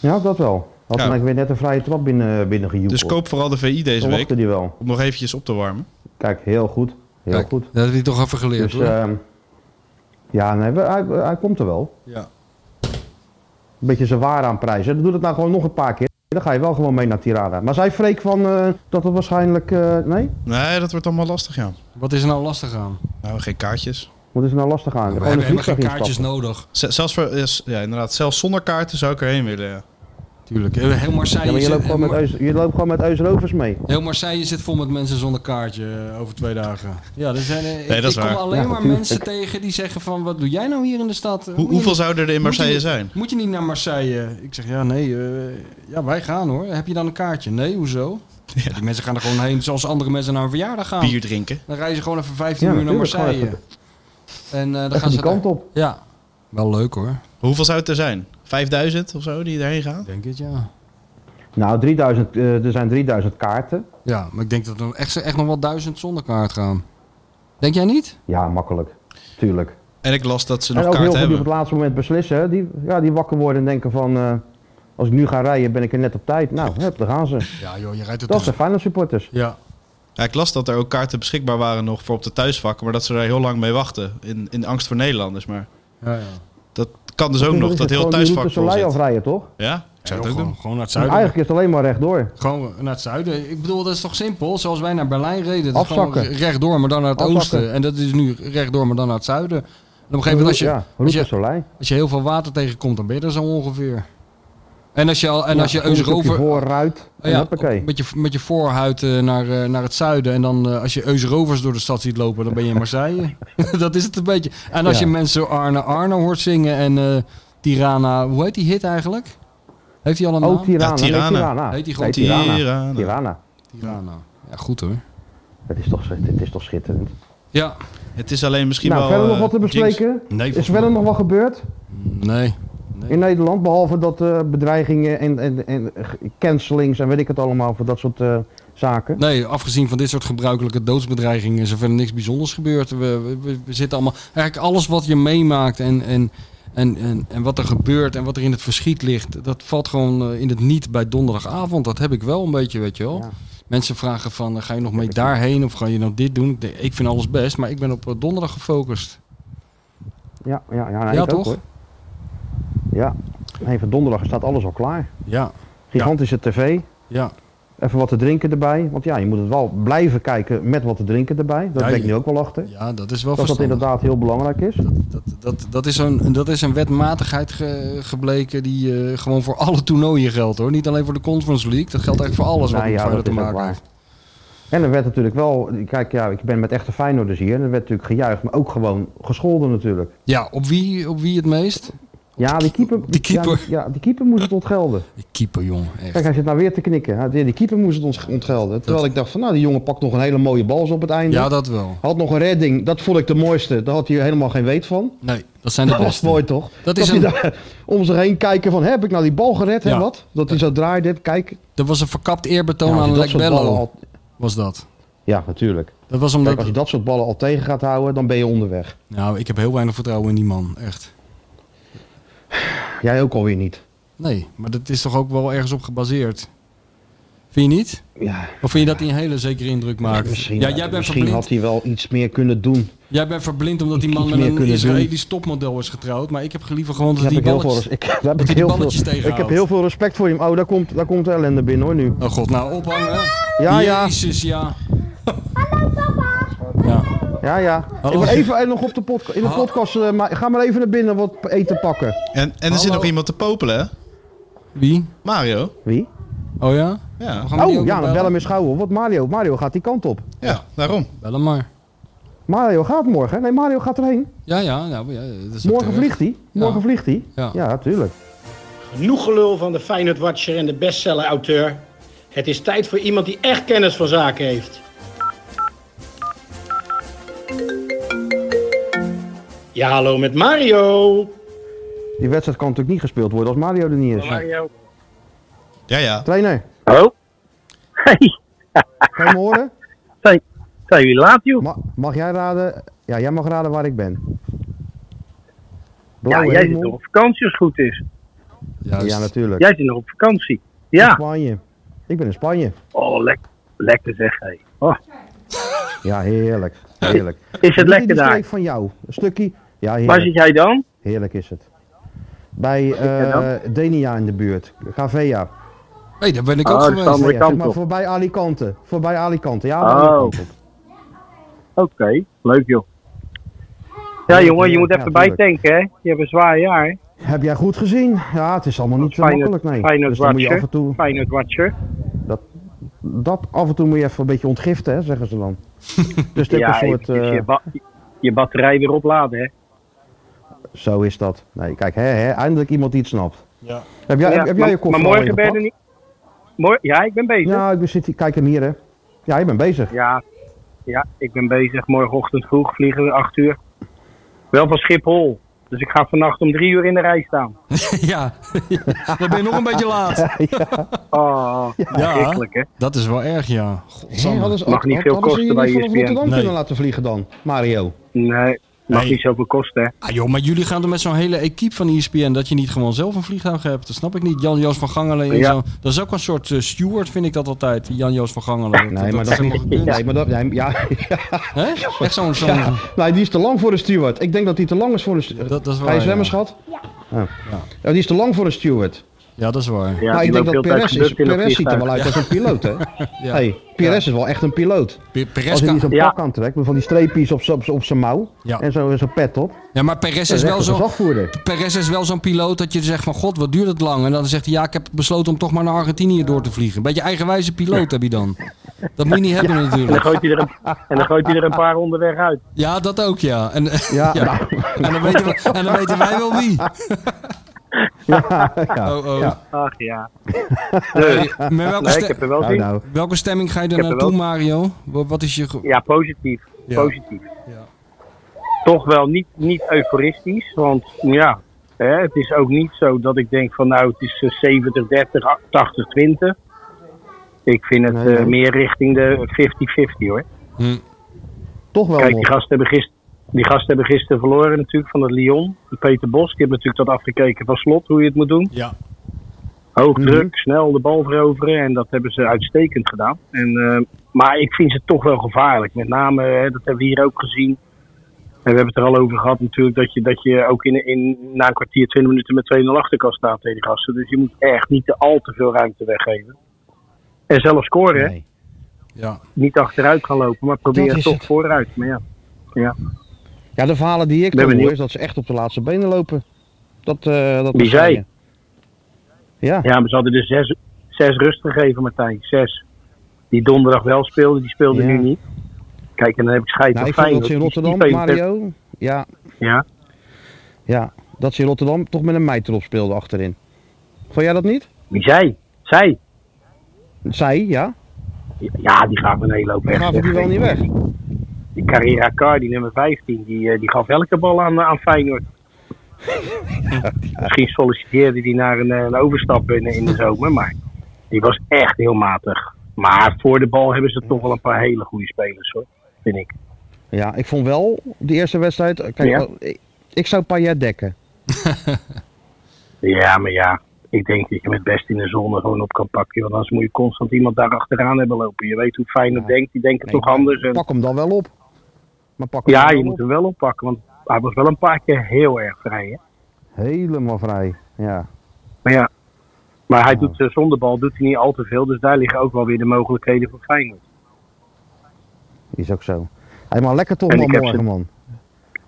S3: Ja, dat wel. Had
S5: Ja.
S3: dan eigenlijk weer net een vrije trap binnen, binnen gejoeld.
S5: Dus koop vooral de VI deze
S3: Dan
S5: week.
S3: lachte die wel.
S5: Om nog eventjes op te warmen.
S3: Kijk, heel goed. Heel
S4: Kijk,
S3: goed.
S4: Dat heb je toch even geleerd
S3: Dus
S4: hoor.
S3: ehm, ja, nee, we- hij, hij komt er wel.
S5: Ja.
S3: Een beetje zijn waar aan prijzen. Doe dat nou gewoon nog een paar keer. Dan ga je wel gewoon mee naar Tirana. Maar zei Freek van eh, dat het waarschijnlijk... eh, nee?
S5: Nee, dat wordt allemaal lastig, ja.
S4: Wat is er nou lastig aan?
S5: Nou, geen kaartjes.
S3: Wat is er nou lastig aan?
S4: We
S3: Gewoon een
S4: hebben helemaal
S3: vliegtuig
S4: geen kaartjes
S3: instappen.
S4: nodig.
S5: Z- zelfs, voor, ja, s- ja, inderdaad, zelfs zonder kaarten zou ik erheen willen. Ja.
S4: Tuurlijk. Heel Marseille,
S3: Ja, maar je
S4: zit-
S3: loopt gewoon met,
S4: heel Mar-
S3: Eus- je loopt gewoon met Eus Rovers mee.
S4: heel Marseille zit vol met mensen zonder kaartje eh, over twee dagen. Ja, er zijn, eh, ik,
S5: dat is
S4: ik kom
S5: waar.
S4: alleen
S3: Ja,
S4: maar
S3: natuurlijk.
S4: mensen tegen die zeggen van... Wat doe jij nou hier in de stad? Hoe-
S5: Hoe, hoeveel zouden er in Marseille
S4: Moet je-
S5: zijn?
S4: Moet je niet naar Marseille? Ik zeg ja, nee. eh, ja, wij gaan hoor. Heb je dan een kaartje? Nee, hoezo? Die mensen gaan er gewoon heen, zoals andere mensen naar een verjaardag gaan.
S5: Bier drinken.
S4: Dan rijden ze gewoon even 15
S3: Ja,
S4: uur naar
S3: natuurlijk,
S4: Marseille.
S3: gewoon
S4: en eh, dan
S3: Even
S4: gaan ze
S3: die kant
S4: daar-
S3: op.
S4: Ja, wel leuk hoor.
S5: Hoeveel zou het er zijn? 5000 of zo die erheen gaan?
S4: Denk het ja.
S3: Nou, 3000, eh, er zijn 3000 kaarten.
S4: Ja, maar ik denk dat er echt, echt nog wel duizend zonder kaart gaan. Denk jij niet?
S3: Ja, makkelijk. Tuurlijk.
S5: En ik las dat ze
S3: En
S5: nog
S3: ook heel
S5: kaarten
S3: veel die op
S5: hebben.
S3: het laatste moment beslissen. hè, Die, ja, die wakker worden en denken van... eh, als ik nu ga rijden, ben ik er net op tijd.
S5: [laughs]
S3: Nou, hup, daar gaan ze.
S4: Ja joh, je rijdt het
S3: Dat zijn Feyenoord supporters.
S4: Ja.
S5: Ja, ik las dat er ook kaarten beschikbaar waren nog voor op de thuisvakken. Maar dat ze daar heel lang mee wachten. In, in angst voor Nederlanders. Maar
S4: ja, ja.
S5: dat kan dus ook nog. Dat heel thuisvak
S3: vol
S5: vol zit.
S3: afrijden, toch?
S5: Ja, ik zou het ook
S4: gewoon,
S5: doen.
S4: gewoon naar het
S3: Dus
S4: zuiden.
S3: eigenlijk is het alleen maar rechtdoor.
S4: Gewoon naar het zuiden. Ik bedoel, dat is toch simpel? Zoals wij naar Berlijn reden. Dat is
S3: Afzakken.
S4: gewoon rechtdoor, maar dan naar het
S3: Afzakken.
S4: oosten. En dat is nu rechtdoor, maar dan naar het zuiden. En op een gegeven moment, als je,
S3: ja,
S4: als
S3: route
S4: je,
S3: Soleil.
S4: als je heel veel water tegenkomt, dan ben je er zo ongeveer. En als je, al, en als je
S3: Ja, onderzoek je
S4: Eusrover...
S3: vooruit.
S4: Oh
S3: en
S4: ja,
S3: hoppakee.
S4: met, je, met je voorhuid eh, naar, eh, naar het zuiden. En dan eh, als je Eusrovers door de stad ziet lopen, dan ben je in Marseille. [laughs] dat is het een beetje. En als
S3: Ja.
S4: je mensen Arne Arne hoort zingen en eh, Tirana... Hoe heet die hit eigenlijk? Heeft hij al een naam?
S3: Oh, Tirana.
S5: Ja,
S3: nee,
S5: Tirana.
S3: Tirana.
S4: Heet die gewoon
S3: Nee, Tirana.
S5: Tirana.
S3: Tirana.
S4: Tirana. Ja, goed hoor.
S3: Het is toch, het is toch schitterend.
S4: Ja.
S5: Het is alleen misschien
S3: nou,
S5: wel...
S3: verder nog
S5: eh,
S3: wat te
S5: jinx.
S3: bespreken?
S4: Nee,
S3: is
S4: volgens
S3: verder
S4: mij-
S3: nog wat gebeurd
S4: Nee.
S3: in Nederland? Behalve dat eh, bedreigingen en, en, en eh, cancelings en weet ik het allemaal voor dat soort eh, zaken.
S4: Nee, afgezien van dit soort gebruikelijke doodsbedreigingen is er verder niks bijzonders gebeurd. We, we, we zitten allemaal. Eigenlijk alles wat je meemaakt en, en, En, en, en wat er gebeurt en wat er in het verschiet ligt, dat valt gewoon eh, in het niet bij donderdagavond. Dat heb ik wel een beetje, weet je wel.
S3: Ja.
S4: Mensen vragen van, eh, ga je nog mee daarheen of ga je nou dit doen? Ik denk, Ik vind alles best, maar ik ben op eh, donderdag gefocust.
S3: Ja, ja, ja,
S4: Ja,
S3: ik ook,
S4: toch?
S3: hoor. Ja, nee, van donderdag staat alles al klaar.
S4: Ja,
S3: Gigantische tv,
S4: ja.
S3: even wat te drinken erbij. Want ja, je moet het wel blijven kijken met wat te drinken erbij. Daar
S4: Ja,
S3: ben ik
S4: je-
S3: nu ook wel achter.
S4: ja dat is wel
S3: dat dat
S4: verstandig.
S3: inderdaad heel belangrijk is.
S4: Dat, dat, dat, is een, dat is een wetmatigheid ge- gebleken die eh, gewoon voor alle toernooien geldt hoor. Niet alleen voor de Conference League. Dat geldt eigenlijk voor alles wat
S3: Nee,
S4: met
S3: Nou ja,
S4: Feyenoord te
S3: dat is ook
S4: maken
S3: waar.
S4: heeft.
S3: En er werd natuurlijk wel, kijk ja, ik ben met echte Feyenoorders hier. En er werd natuurlijk gejuicht, maar ook gewoon gescholden natuurlijk.
S4: Ja, op wie, op wie het meest?
S3: Ja, die keeper,
S4: Die keeper.
S3: Ja, ja, die keeper moest het ontgelden.
S4: De keeper, jongen. Echt.
S3: Kijk, hij zit nou weer te knikken. Hij- Die keeper moest het ons ontgelden. Terwijl ik dacht van, nou die jongen pakt nog een hele mooie bal zo op het einde.
S4: Ja, dat wel.
S3: Had nog een redding, dat vond ik de mooiste. Daar had hij helemaal geen weet van.
S4: Nee, dat zijn de
S3: Dat was
S4: beste.
S3: mooi toch?
S4: Dat is
S3: hij
S4: een-
S3: daar [laughs] om zich heen kijken van, heb ik nou die bal gered
S4: Ja.
S3: en wat? Dat hij zo draaide, kijk.
S4: Dat was een verkapt eerbetoon
S3: Ja, als
S4: aan
S3: je dat
S4: Lek
S3: soort ballen
S4: Bello.
S3: al-
S4: Was dat.
S3: Ja, natuurlijk.
S4: Dat was
S3: Kijk, als
S4: omdat...
S3: je dat soort ballen al tegen gaat houden, dan ben je onderweg.
S4: Nou, ik heb heel weinig vertrouwen in die man. Echt.
S3: Jij ook alweer niet.
S4: Nee, maar dat is toch ook wel ergens op gebaseerd. Vind je niet?
S3: Ja,
S4: Of vind je dat hij een hele zekere indruk maakt?
S3: misschien, eh,
S4: ja, jij bent
S3: misschien
S4: verblind.
S3: had hij wel iets meer kunnen doen.
S4: Jij bent verblind omdat die
S3: Iets
S4: man met
S3: meer
S4: een
S3: kunnen doen.
S4: Israëlisch topmodel is getrouwd. Maar ik heb liever gewoon dat
S3: Daar
S4: die
S3: heb ik, heel veel,
S4: balletjes...
S3: res- [laughs] ik, daar heb
S4: die
S3: ik, heel
S4: balletjes
S3: veel, ik heb
S4: tegenhoudt.
S3: heel veel respect voor hem. Oh, daar komt, daar komt de ellende binnen hoor nu.
S4: Oh god, nou ophangen.
S3: Ja, ja,
S4: Jezus, ja. Hallo papa. Ja.
S3: ja, ja.
S4: Hallo.
S3: Ik wil even eh, nog op de, podca- in de
S4: Hallo.
S3: podcast. eh, maar ga maar even naar binnen wat eten pakken.
S5: En, en er zit
S4: Hallo.
S5: nog iemand te popelen, hè?
S4: Wie?
S5: Mario.
S3: Wie?
S4: Oh ja?
S5: Ja,
S4: Gaan we die
S3: Oh,
S4: ook
S3: ja,
S4: nog
S3: dan bel hem eens gauw op. Want Mario, Mario gaat die kant op.
S5: ja daarom.
S4: Bel hem maar.
S3: Mario gaat morgen. Nee, Mario gaat erheen.
S4: Ja, ja. Nou, ja dat is ook
S3: Morgen
S4: terecht.
S3: vliegt hij. Morgen vliegt hij.
S4: Ja.
S3: Ja, tuurlijk.
S6: Genoeg gelul van de Feyenoord Watcher en de bestseller auteur. Het is tijd voor iemand die echt kennis van zaken heeft. Ja, hallo met Mario.
S3: Die wedstrijd kan natuurlijk niet gespeeld worden als Mario er niet is.
S6: Mario.
S5: Ja, ja.
S3: Trainer,
S8: Hallo? Hey,
S3: kan je me horen?
S8: zijn jullie laat, joh?
S3: Ma- mag jij raden? Ja, jij mag raden waar ik ben.
S8: Ja,
S3: Blauwe
S8: jij zit
S3: hemel.
S8: nog op vakantie als het goed is.
S4: Juist.
S3: Ja, natuurlijk.
S8: Jij zit nog op vakantie.
S3: In
S8: Ja.
S3: Spanje. Ik ben in Spanje.
S8: Oh, lek- lekker zeg, hé. Oh,
S3: Ja, heerlijk. Heerlijk.
S8: is het
S3: Niet in
S8: lekker
S3: de
S8: daar?
S3: streek van jou. Een stukje. Ja,
S8: Waar
S3: heerlijk.
S8: zit jij dan?
S3: Heerlijk is het. Bij eh Denia in de buurt. Gavea.
S4: hey, daar ben ik
S8: Oh,
S4: ook
S8: dat is
S4: geweest.
S8: allemaal- Andere
S3: Gavea, zeg
S8: kant
S3: maar
S8: op.
S3: voorbij Alicante. Voorbij Alicante. Ja,
S8: Oh.
S3: de andere kant op.
S8: Oké, leuk, joh. Ja, jongen, je moet
S3: eh, Ja,
S8: even bijtanken, hè? Je hebt een zwaar jaar, hè?
S3: Heb jij goed gezien? Ja, het is allemaal niet zo
S8: Feyenoord-
S3: makkelijk. Nee.
S8: Feyenoord
S3: dus dan moet je af
S8: watcher.
S3: en toe,
S8: Feyenoord Watcher.
S3: dat af en toe moet je even een beetje ontgiften, hè, zeggen ze
S8: [laughs]
S3: dan. Dus dit
S8: Ja,
S3: een soort...
S8: eventjes
S3: eh,
S8: je, ba- je batterij weer opladen, hè?
S3: Zo is dat. Nee, kijk, hè, hè, eindelijk iemand die het snapt. Heb jij, heb,
S8: Ja,
S3: heb jij
S8: maar-
S3: je kop
S8: Maar morgen ben je er niet... Mor- ja, ik ben bezig.
S3: Ja, ik ben zit, kijk hem hier, hè. Ja, je bent bezig.
S8: Ja, ja, ik ben bezig. Morgenochtend vroeg vliegen we 8 uur. Wel van Schiphol. Dus ik ga vannacht om drie uur in de rij staan.
S4: [laughs] ja. [laughs] dan ben je nog een beetje laat.
S3: [laughs]
S8: Oh,
S4: Ja,
S8: verschrikkelijk hè.
S4: dat is wel erg, ja. Godsamme.
S3: Hadden ze-
S8: Mag niet
S3: had-
S8: veel
S3: hadden ze
S8: kosten
S3: je
S8: bij E
S3: niet vanaf
S8: ESPN.
S3: Rotterdam
S4: Nee.
S3: kunnen laten vliegen dan, Mario?
S8: Nee, mag
S4: Nee.
S8: niet zoveel kosten hè.
S4: Ah joh, maar jullie gaan er met zo'n hele equipe van E ESPN dat je niet gewoon zelf een vliegtuig hebt. Dat snap ik niet. Jan-Joos van Gangelen en
S8: Ja.
S4: zo. Dat is ook een soort eh, steward, vind ik dat altijd. die Jan-Joos van Gangelen.
S3: Nee, maar dat
S4: is
S3: niet.
S4: helemaal-
S3: Nee, maar dat... Nee, ja, [laughs]
S4: Hè? Echt zo'n... zo'n-
S3: ja. Nee, die is te lang voor een steward. Ik denk dat die te lang is voor een steward.
S4: Dat, dat is waar.
S3: Ga je
S4: ja.
S3: zwemmen, schat? Ja.
S4: Ja.
S3: Ja, die is te lang voor een steward.
S4: Ja, dat is waar.
S8: Ja,
S3: nou,
S8: die
S3: ik denk
S8: loopt
S3: dat
S8: de hele tijd
S3: Perez, is,
S8: gebukt in een
S3: Perez ziet er wel
S8: vliegtuig.
S3: uit als een piloot, hè?
S8: [laughs]
S4: Ja.
S3: Hey, Perez is wel echt een piloot.
S4: Pe-
S3: Als
S4: Perez
S3: hij
S4: kan-
S3: niet zo'n
S8: Ja.
S3: pak aantrekt, met van die streepjes op zijn- op zijn- op zijn mouw
S4: Ja.
S3: en zo- en zo'n pet op.
S4: ja, maar Perez
S3: Dat
S4: is
S3: is echt
S4: wel
S3: een
S4: zo'n...
S3: gezagvoerder.
S4: Perez is wel zo'n piloot dat je zegt van god, wat duurt het lang? En dan zegt hij ja, ik heb besloten om toch maar naar Argentinië door te vliegen. Beetje eigenwijze piloot heb je dan. Dat moet je niet hebben
S8: En dan
S4: natuurlijk.
S8: gooit hij er een, en dan gooit hij er een paar onderweg uit.
S4: Ja, dat ook ja. En,
S3: Ja,
S4: [laughs] ja.
S3: nou,
S4: en, dan, weten we, en dan weten wij wel wie.
S3: [laughs] ja.
S4: Oh, oh.
S8: Ach ja. Nee,
S4: Met welke,
S8: nee,
S4: ste-
S8: ik heb er wel
S3: Nou,
S8: zin.
S3: nou.
S4: welke stemming ga je er
S8: Ik heb er
S4: naartoe,
S8: wel-
S4: Mario? Wa- Wat is je... ge-
S8: Ja, positief.
S4: Ja.
S8: Positief.
S4: Ja.
S8: Toch wel niet, niet euforistisch, want ja, hè, het is ook niet zo dat ik denk van nou het is eh, 70, 30, a- 80, 20. Ik vind het
S3: Nee, nee.
S8: eh, meer richting de 50-50 hoor.
S4: Hm.
S3: Toch wel
S8: Kijk,
S3: nog.
S8: die gasten hebben gisteren... Die gasten hebben gisteren verloren natuurlijk van het Lyon. Van Peter Bos, die hebben natuurlijk dat afgekeken van slot, hoe je het moet doen.
S5: Ja.
S8: Hoog
S3: Mhm.
S8: druk, snel de bal veroveren. En dat hebben ze uitstekend gedaan. En, eh, maar ik vind ze toch wel gevaarlijk. Met name, eh, dat hebben we hier ook gezien. En we hebben het er al over gehad natuurlijk. Dat je, dat je ook in, in, na een kwartier, 20 minuten met 2-0 achter kan staan tegen die gasten. Dus je moet echt niet te al te veel ruimte weggeven. En zelf scoren, hè?
S3: Nee.
S4: Ja.
S8: niet achteruit gaan lopen, maar
S3: Dat
S8: probeer
S3: is
S8: toch
S3: het.
S8: vooruit. Maar ja. Ja.
S3: Ja, de verhalen die ik
S8: Ben
S3: dan hoor
S8: benieuwd.
S3: is dat ze echt op de laatste benen lopen. Dat, eh dat
S8: Wie
S3: zei
S8: zei?
S3: je. Ja, Nou,
S8: ja, maar ze hadden er zes, zes rust gegeven, Martijn. Zes. Die donderdag wel speelde, die speelde
S3: Ja.
S8: nu niet. Kijk, en dan heb ik scheid
S3: nou,
S8: aan
S3: ik vond
S8: Feyenoord.
S3: dat ze in
S8: Die- die
S3: Rotterdam,
S8: Feyenoord heeft-
S3: Mario, ja,
S8: Ja.
S3: ja, dat ze in Rotterdam toch met een meid erop speelde achterin. Vond jij dat niet?
S8: Wie zij? Zij?
S3: Zij, ja.
S8: Ja, die gaat een hele hoop weg.
S3: Gaven die wel niet weg?
S8: Die Carrera Car, die nummer 15, die, eh, die gaf elke bal aan, eh, aan
S3: [laughs]
S8: Feyenoord. Misschien solliciteerde die naar een, eh, een overstap in, in de zomer, maar die was echt heel matig. Maar voor de bal hebben ze toch wel een paar hele goede spelers hoor, vind ik.
S3: Ja, ik vond wel die eerste wedstrijd. eh, Kijk,
S8: Ja.
S3: wel, ik, ik zou Payet dekken.
S8: Ja, maar ja, ik denk dat je met best in de zone gewoon op kan pakken. Want anders moet je constant iemand daar achteraan hebben lopen. Je weet hoe Feyenoord denkt, die denken
S3: Nee,
S8: toch anders. En...
S3: Pak hem dan wel op. Maar pak hem
S8: Ja,
S3: dan
S8: je
S3: wel
S8: moet hem wel oppakken, want hij was wel een paar keer heel erg vrij hè.
S3: op. Helemaal vrij. Ja.
S8: Maar ja, maar hij doet eh, zonder bal doet hij niet al te veel. Dus daar liggen ook wel weer de mogelijkheden voor Feyenoord.
S3: Is ook zo. Hij maar lekker toch
S8: En
S3: man
S8: ik heb
S3: morgen,
S8: ze-
S3: man.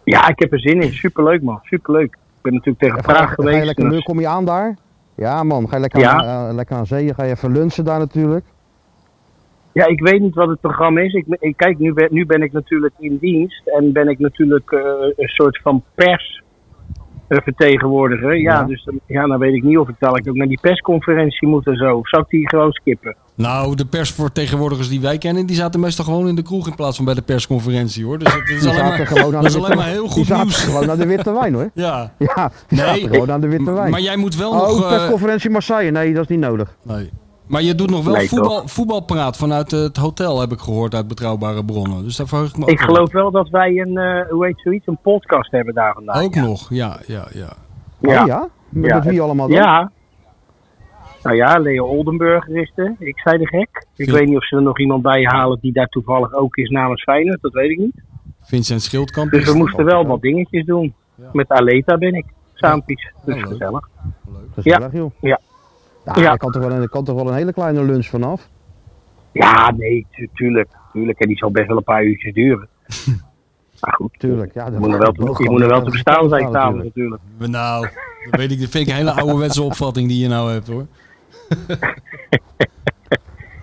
S8: Ja, ik heb er zin in. Superleuk man, superleuk. Ik ben natuurlijk tegen
S3: Ga,
S8: Praag
S3: ga je
S8: geweest.
S3: lekker
S8: dus-
S3: nu, kom je aan daar? Ja, man. Ga je lekker,
S8: Ja.
S3: aan, eh, lekker aan zee. Ga je even lunchen daar natuurlijk.
S8: Ja, ik weet niet wat het programma is. Ik, ik kijk, nu ben, nu ben ik natuurlijk in dienst en ben ik natuurlijk eh, een soort van persvertegenwoordiger. Ja,
S3: Ja.
S8: dus dan- ja, dan weet ik niet of ik dadelijk ook naar die persconferentie moet en zo. Of zou ik die gewoon skippen?
S4: Nou, de persvertegenwoordigers die wij kennen, die zaten meestal gewoon in de kroeg in plaats van bij de persconferentie hoor. Dus dat is
S3: Die
S4: alleen
S3: zaten
S4: maar,
S3: gewoon aan
S4: dat is
S3: de
S4: alleen
S3: witte,
S4: maar heel
S3: die
S4: goed
S3: zaten
S4: nieuws.
S3: gewoon naar de witte wijn, hoor.
S4: Ja.
S3: Ja, die
S4: [laughs] Nee,
S3: zaten gewoon aan de witte wijn.
S4: Maar jij moet wel nog...
S3: Oh,
S4: eh,
S3: persconferentie Marseille. Nee, dat is niet nodig.
S4: nee. Maar je doet nog wel
S8: Nee,
S4: voetbal, voetbalpraat vanuit eh, het hotel, heb ik gehoord uit betrouwbare bronnen. Dus daar verheug ik me
S3: Oh,
S4: ook
S8: Ik
S4: op.
S8: geloof wel dat wij een, eh, hoe heet zoiets, een podcast hebben daar vandaag.
S4: Ook nog, ja, ja, ja.
S3: Ja. Oh, ja? Met
S8: Ja,
S3: met wie
S8: het-
S3: allemaal dan?
S8: Ja. Nou ja, Leo Oldenburger is er. Ik zei de gek. Ik
S4: Ja.
S8: weet niet of ze er nog iemand bij halen die daar toevallig ook is namens Feyenoord. Dat weet ik niet.
S4: Vincent Schildkamp.
S8: Dus
S4: is
S8: we
S4: er
S8: moesten
S4: ook.
S8: wel wat dingetjes doen.
S4: Ja.
S8: Met Aleta ben ik. Saampies. Dus
S4: Ja, leuk.
S8: gezellig.
S3: Gezellig, joh.
S8: Ja.
S3: Nou,
S8: Ja.
S3: Er, kan toch wel een, er kan toch wel een hele kleine lunch vanaf?
S8: Ja, nee, tu- tuurlijk. Tuurlijk. En die zal best wel een paar
S3: [laughs]
S8: uurtjes duren. maar goed.
S3: Tuurlijk. Ja,
S8: Je
S3: dat
S8: moet er wel
S3: dat
S8: te, je
S3: kan-
S8: moet er wel
S3: dat kan
S8: te bestaan zijn
S3: natuurlijk.
S8: s'avonds natuurlijk.
S4: Nou, dat, weet ik, dat vind ik een hele ouderwetse opvatting die je nou hebt hoor.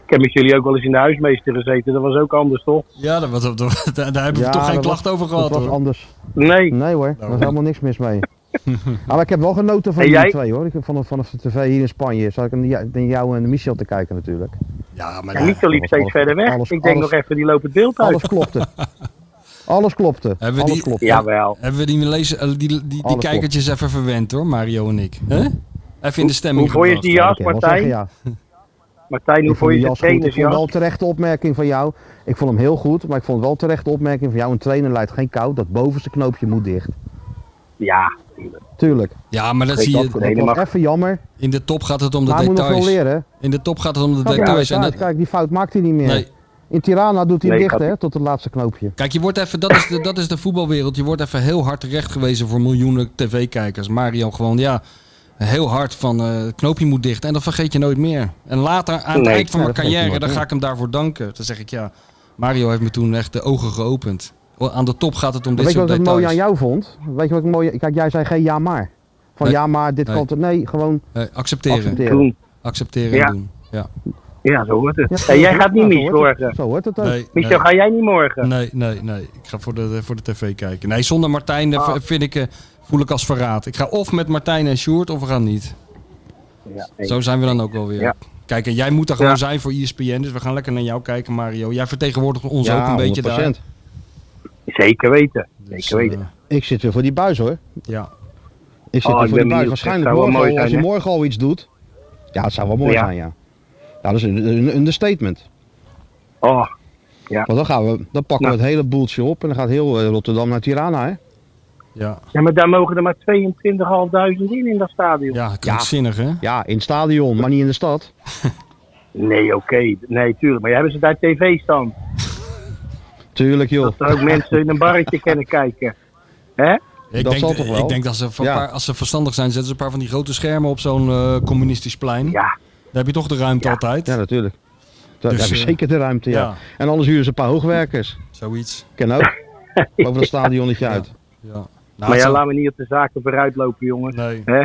S8: Ik heb met jullie ook wel eens in de huismeester gezeten. Dat was ook anders, toch?
S4: Ja, dat, was- dat, dat- daar hebben we
S3: Ja,
S4: toch geen
S3: dat
S4: klacht
S3: was-
S4: over
S3: Dat
S4: gehad
S3: was
S4: hoor. Nou.
S3: anders.
S8: Nee.
S3: Nee hoor, daar is helemaal niks mis
S4: [laughs]
S3: mee. Ah, maar ik heb wel genoten van
S8: En
S3: jullie
S8: jij?
S3: twee hoor. Ik heb vanaf, vanaf de tv hier in Spanje zat ik naar naar jou en Michel te kijken natuurlijk.
S4: Ja, maar
S8: En
S4: daar
S8: Michel liep
S3: alles-
S8: steeds
S3: alles-
S8: verder weg.
S3: alles-
S8: ik denk
S3: alles-
S8: nog even, die loopt het beeld uit.
S3: Alles klopte. Alles klopte.
S4: Hebben we
S3: Alles
S4: die-
S3: klopte.
S8: Jawel.
S4: hebben we die, lezer- eh, die, die, die
S3: Alles
S4: kijkertjes even verwend hoor, Mario en ik. Hè? Even in de stemming
S8: Hoe vond je
S4: gebracht.
S8: die jas,
S3: Ik kan wel
S8: Martijn?
S3: zeggen, ja.
S8: Martijn, hoe
S3: Ik vond
S8: vond
S3: die
S8: je de
S3: jas goed. Ik vond wel
S8: trainersjas?
S3: een terechte opmerking van jou. Ik vond hem heel goed, maar ik vond wel een terechte opmerking van jou. Een trainer leidt geen koud. Dat bovenste knoopje moet dicht.
S8: Ja,
S3: Tuurlijk.
S4: Ja, maar dat
S8: Ik
S4: zie
S8: had
S4: je.
S8: Nee,
S3: Dat
S8: die
S3: was
S8: mag-
S3: even jammer.
S4: In de top gaat het om de
S3: Maar hij moet nog wel
S4: details.
S3: leren.
S4: In de top gaat het om de
S3: Gaat
S4: details.
S3: hij
S4: En
S3: uit.
S4: dat-
S3: Kijk, die fout maakt hij niet meer.
S4: nee.
S3: In Tirana doet hij
S8: Nee,
S3: dicht,
S8: gaat-
S3: hè? Tot het laatste knoopje.
S4: Kijk, je wordt even, dat, is de, dat is de voetbalwereld. Je wordt even heel hard terechtgewezen voor miljoenen tv-kijkers. Mario gewoon, ja, heel hard van eh, het knoopje moet dicht. En dat vergeet je nooit meer. En later, aan het
S8: Nee.
S4: eind van
S3: Ja, dat vergeet
S4: mijn
S3: je
S4: carrière,
S3: nooit
S4: dan
S3: meer.
S4: ga ik hem daarvoor danken. Dan zeg ik, ja, Mario heeft me toen echt de ogen geopend. O, Aan de top gaat het om dit
S3: Weet je
S4: soort
S3: wat ik
S4: details.
S3: mooi aan jou vond? Weet je wat ik mooi... Kijk, jij zei geen ja maar. Van
S4: Nee.
S3: ja maar, dit
S4: Nee.
S3: kan toch... Nee, gewoon
S4: Eh, accepteren. accepteren.
S3: accepteren.
S8: toen. Ja.
S4: en doen. Ja.
S8: Ja, zo hoort
S3: Ja,
S8: het. En jij
S3: zo-
S8: gaat niet
S3: ja, zo
S8: mis
S3: hoort het.
S8: morgen.
S3: Zo hoort het ook.
S4: Nee, nee.
S8: Michel, ga jij niet morgen?
S4: Nee, nee, nee. Ik ga voor de, voor de tv kijken. Nee, zonder Martijn eh,
S3: Ah.
S4: v- vind ik, eh, voel ik als verraad. Ik ga of met Martijn en Sjoerd of we gaan niet.
S8: Ja, nee.
S4: Zo zijn we dan ook wel weer.
S8: Ja.
S4: Kijk, en jij moet er gewoon
S8: Ja.
S4: zijn voor ESPN. Dus we gaan lekker naar jou kijken, Mario. Jij vertegenwoordigt ons ook een beetje daar.
S3: 100%.
S8: Zeker weten.
S4: Dus,
S8: Zeker weten.
S4: eh,
S3: Ik zit weer voor die buis hoor.
S4: ja.
S3: Ik zit
S8: Oh,
S3: er voor
S8: ik ben
S3: die buis.
S8: benieuwd.
S3: Waarschijnlijk
S8: Het zou
S3: morgen
S8: wel mooi
S3: al,
S8: zijn,
S3: als hij
S8: hè?
S3: morgen al iets doet. Ja, het zou wel mooi
S8: Ja.
S3: zijn, ja. Ja, dat is een, een understatement.
S8: Oh, Ja.
S3: Want dan, gaan we, dan pakken
S8: Nou.
S3: we het hele boeltje op en dan gaat heel eh, Rotterdam naar Tirana. Hè?
S4: Ja,
S8: Ja, maar daar mogen er maar 22.500 in in dat stadion.
S4: ja krankzinnig hè?
S3: Ja, in het stadion, maar niet in de stad.
S8: Nee, oké. Nee, tuurlijk. Maar hebben ze daar tv staan?
S3: Tuurlijk joh.
S8: Dat
S4: [laughs]
S8: er ook mensen in een barretje kunnen kijken.
S4: Nou,
S8: Hè?
S4: Ik
S3: Dat
S4: denk,
S3: zal toch wel?
S4: Ik denk dat ze, voor
S3: Ja.
S4: een paar, als ze verstandig zijn, zetten ze een paar van die grote schermen op zo'n eh, communistisch plein.
S8: Ja.
S4: Daar heb je toch de ruimte
S8: Ja.
S4: altijd.
S3: Ja, natuurlijk. Daar
S4: Dus,
S3: daar heb je
S4: eh,
S3: zeker de ruimte, ja.
S4: ja.
S3: En anders huren ze een paar hoogwerkers.
S4: Zoiets.
S3: Ken
S8: [laughs]
S3: ook. Boven dat stadionnetje uit.
S4: Ja. Nou,
S8: maar
S4: het
S8: ja,
S4: zou-
S8: laten we niet op de zaken vooruit lopen, jongen.
S4: Nee.
S8: Hè?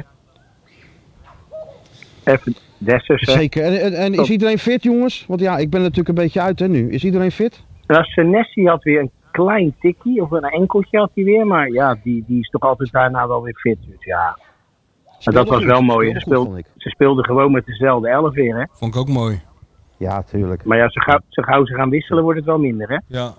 S8: Even dessers, hè?
S3: Zeker. En, en, en
S8: Oh.
S3: is iedereen fit, jongens? Want ja, ik ben natuurlijk een beetje uit hè, nu. Is iedereen fit?
S8: Nou, Senesi had weer een klein tikkie, of een enkeltje had hij weer. Maar ja, die, die is toch altijd daarna wel weer fit. Dus ja, maar dat was wel mooi. Ze
S3: Speelde goed, vond
S8: speelden
S3: ik.
S8: ze speelden gewoon met dezelfde elf weer, hè.
S4: Vond ik ook mooi.
S3: Ja, tuurlijk.
S8: Maar ja, zo gauw, zo gauw ze gaan wisselen wordt het wel minder, hè.
S4: Ja.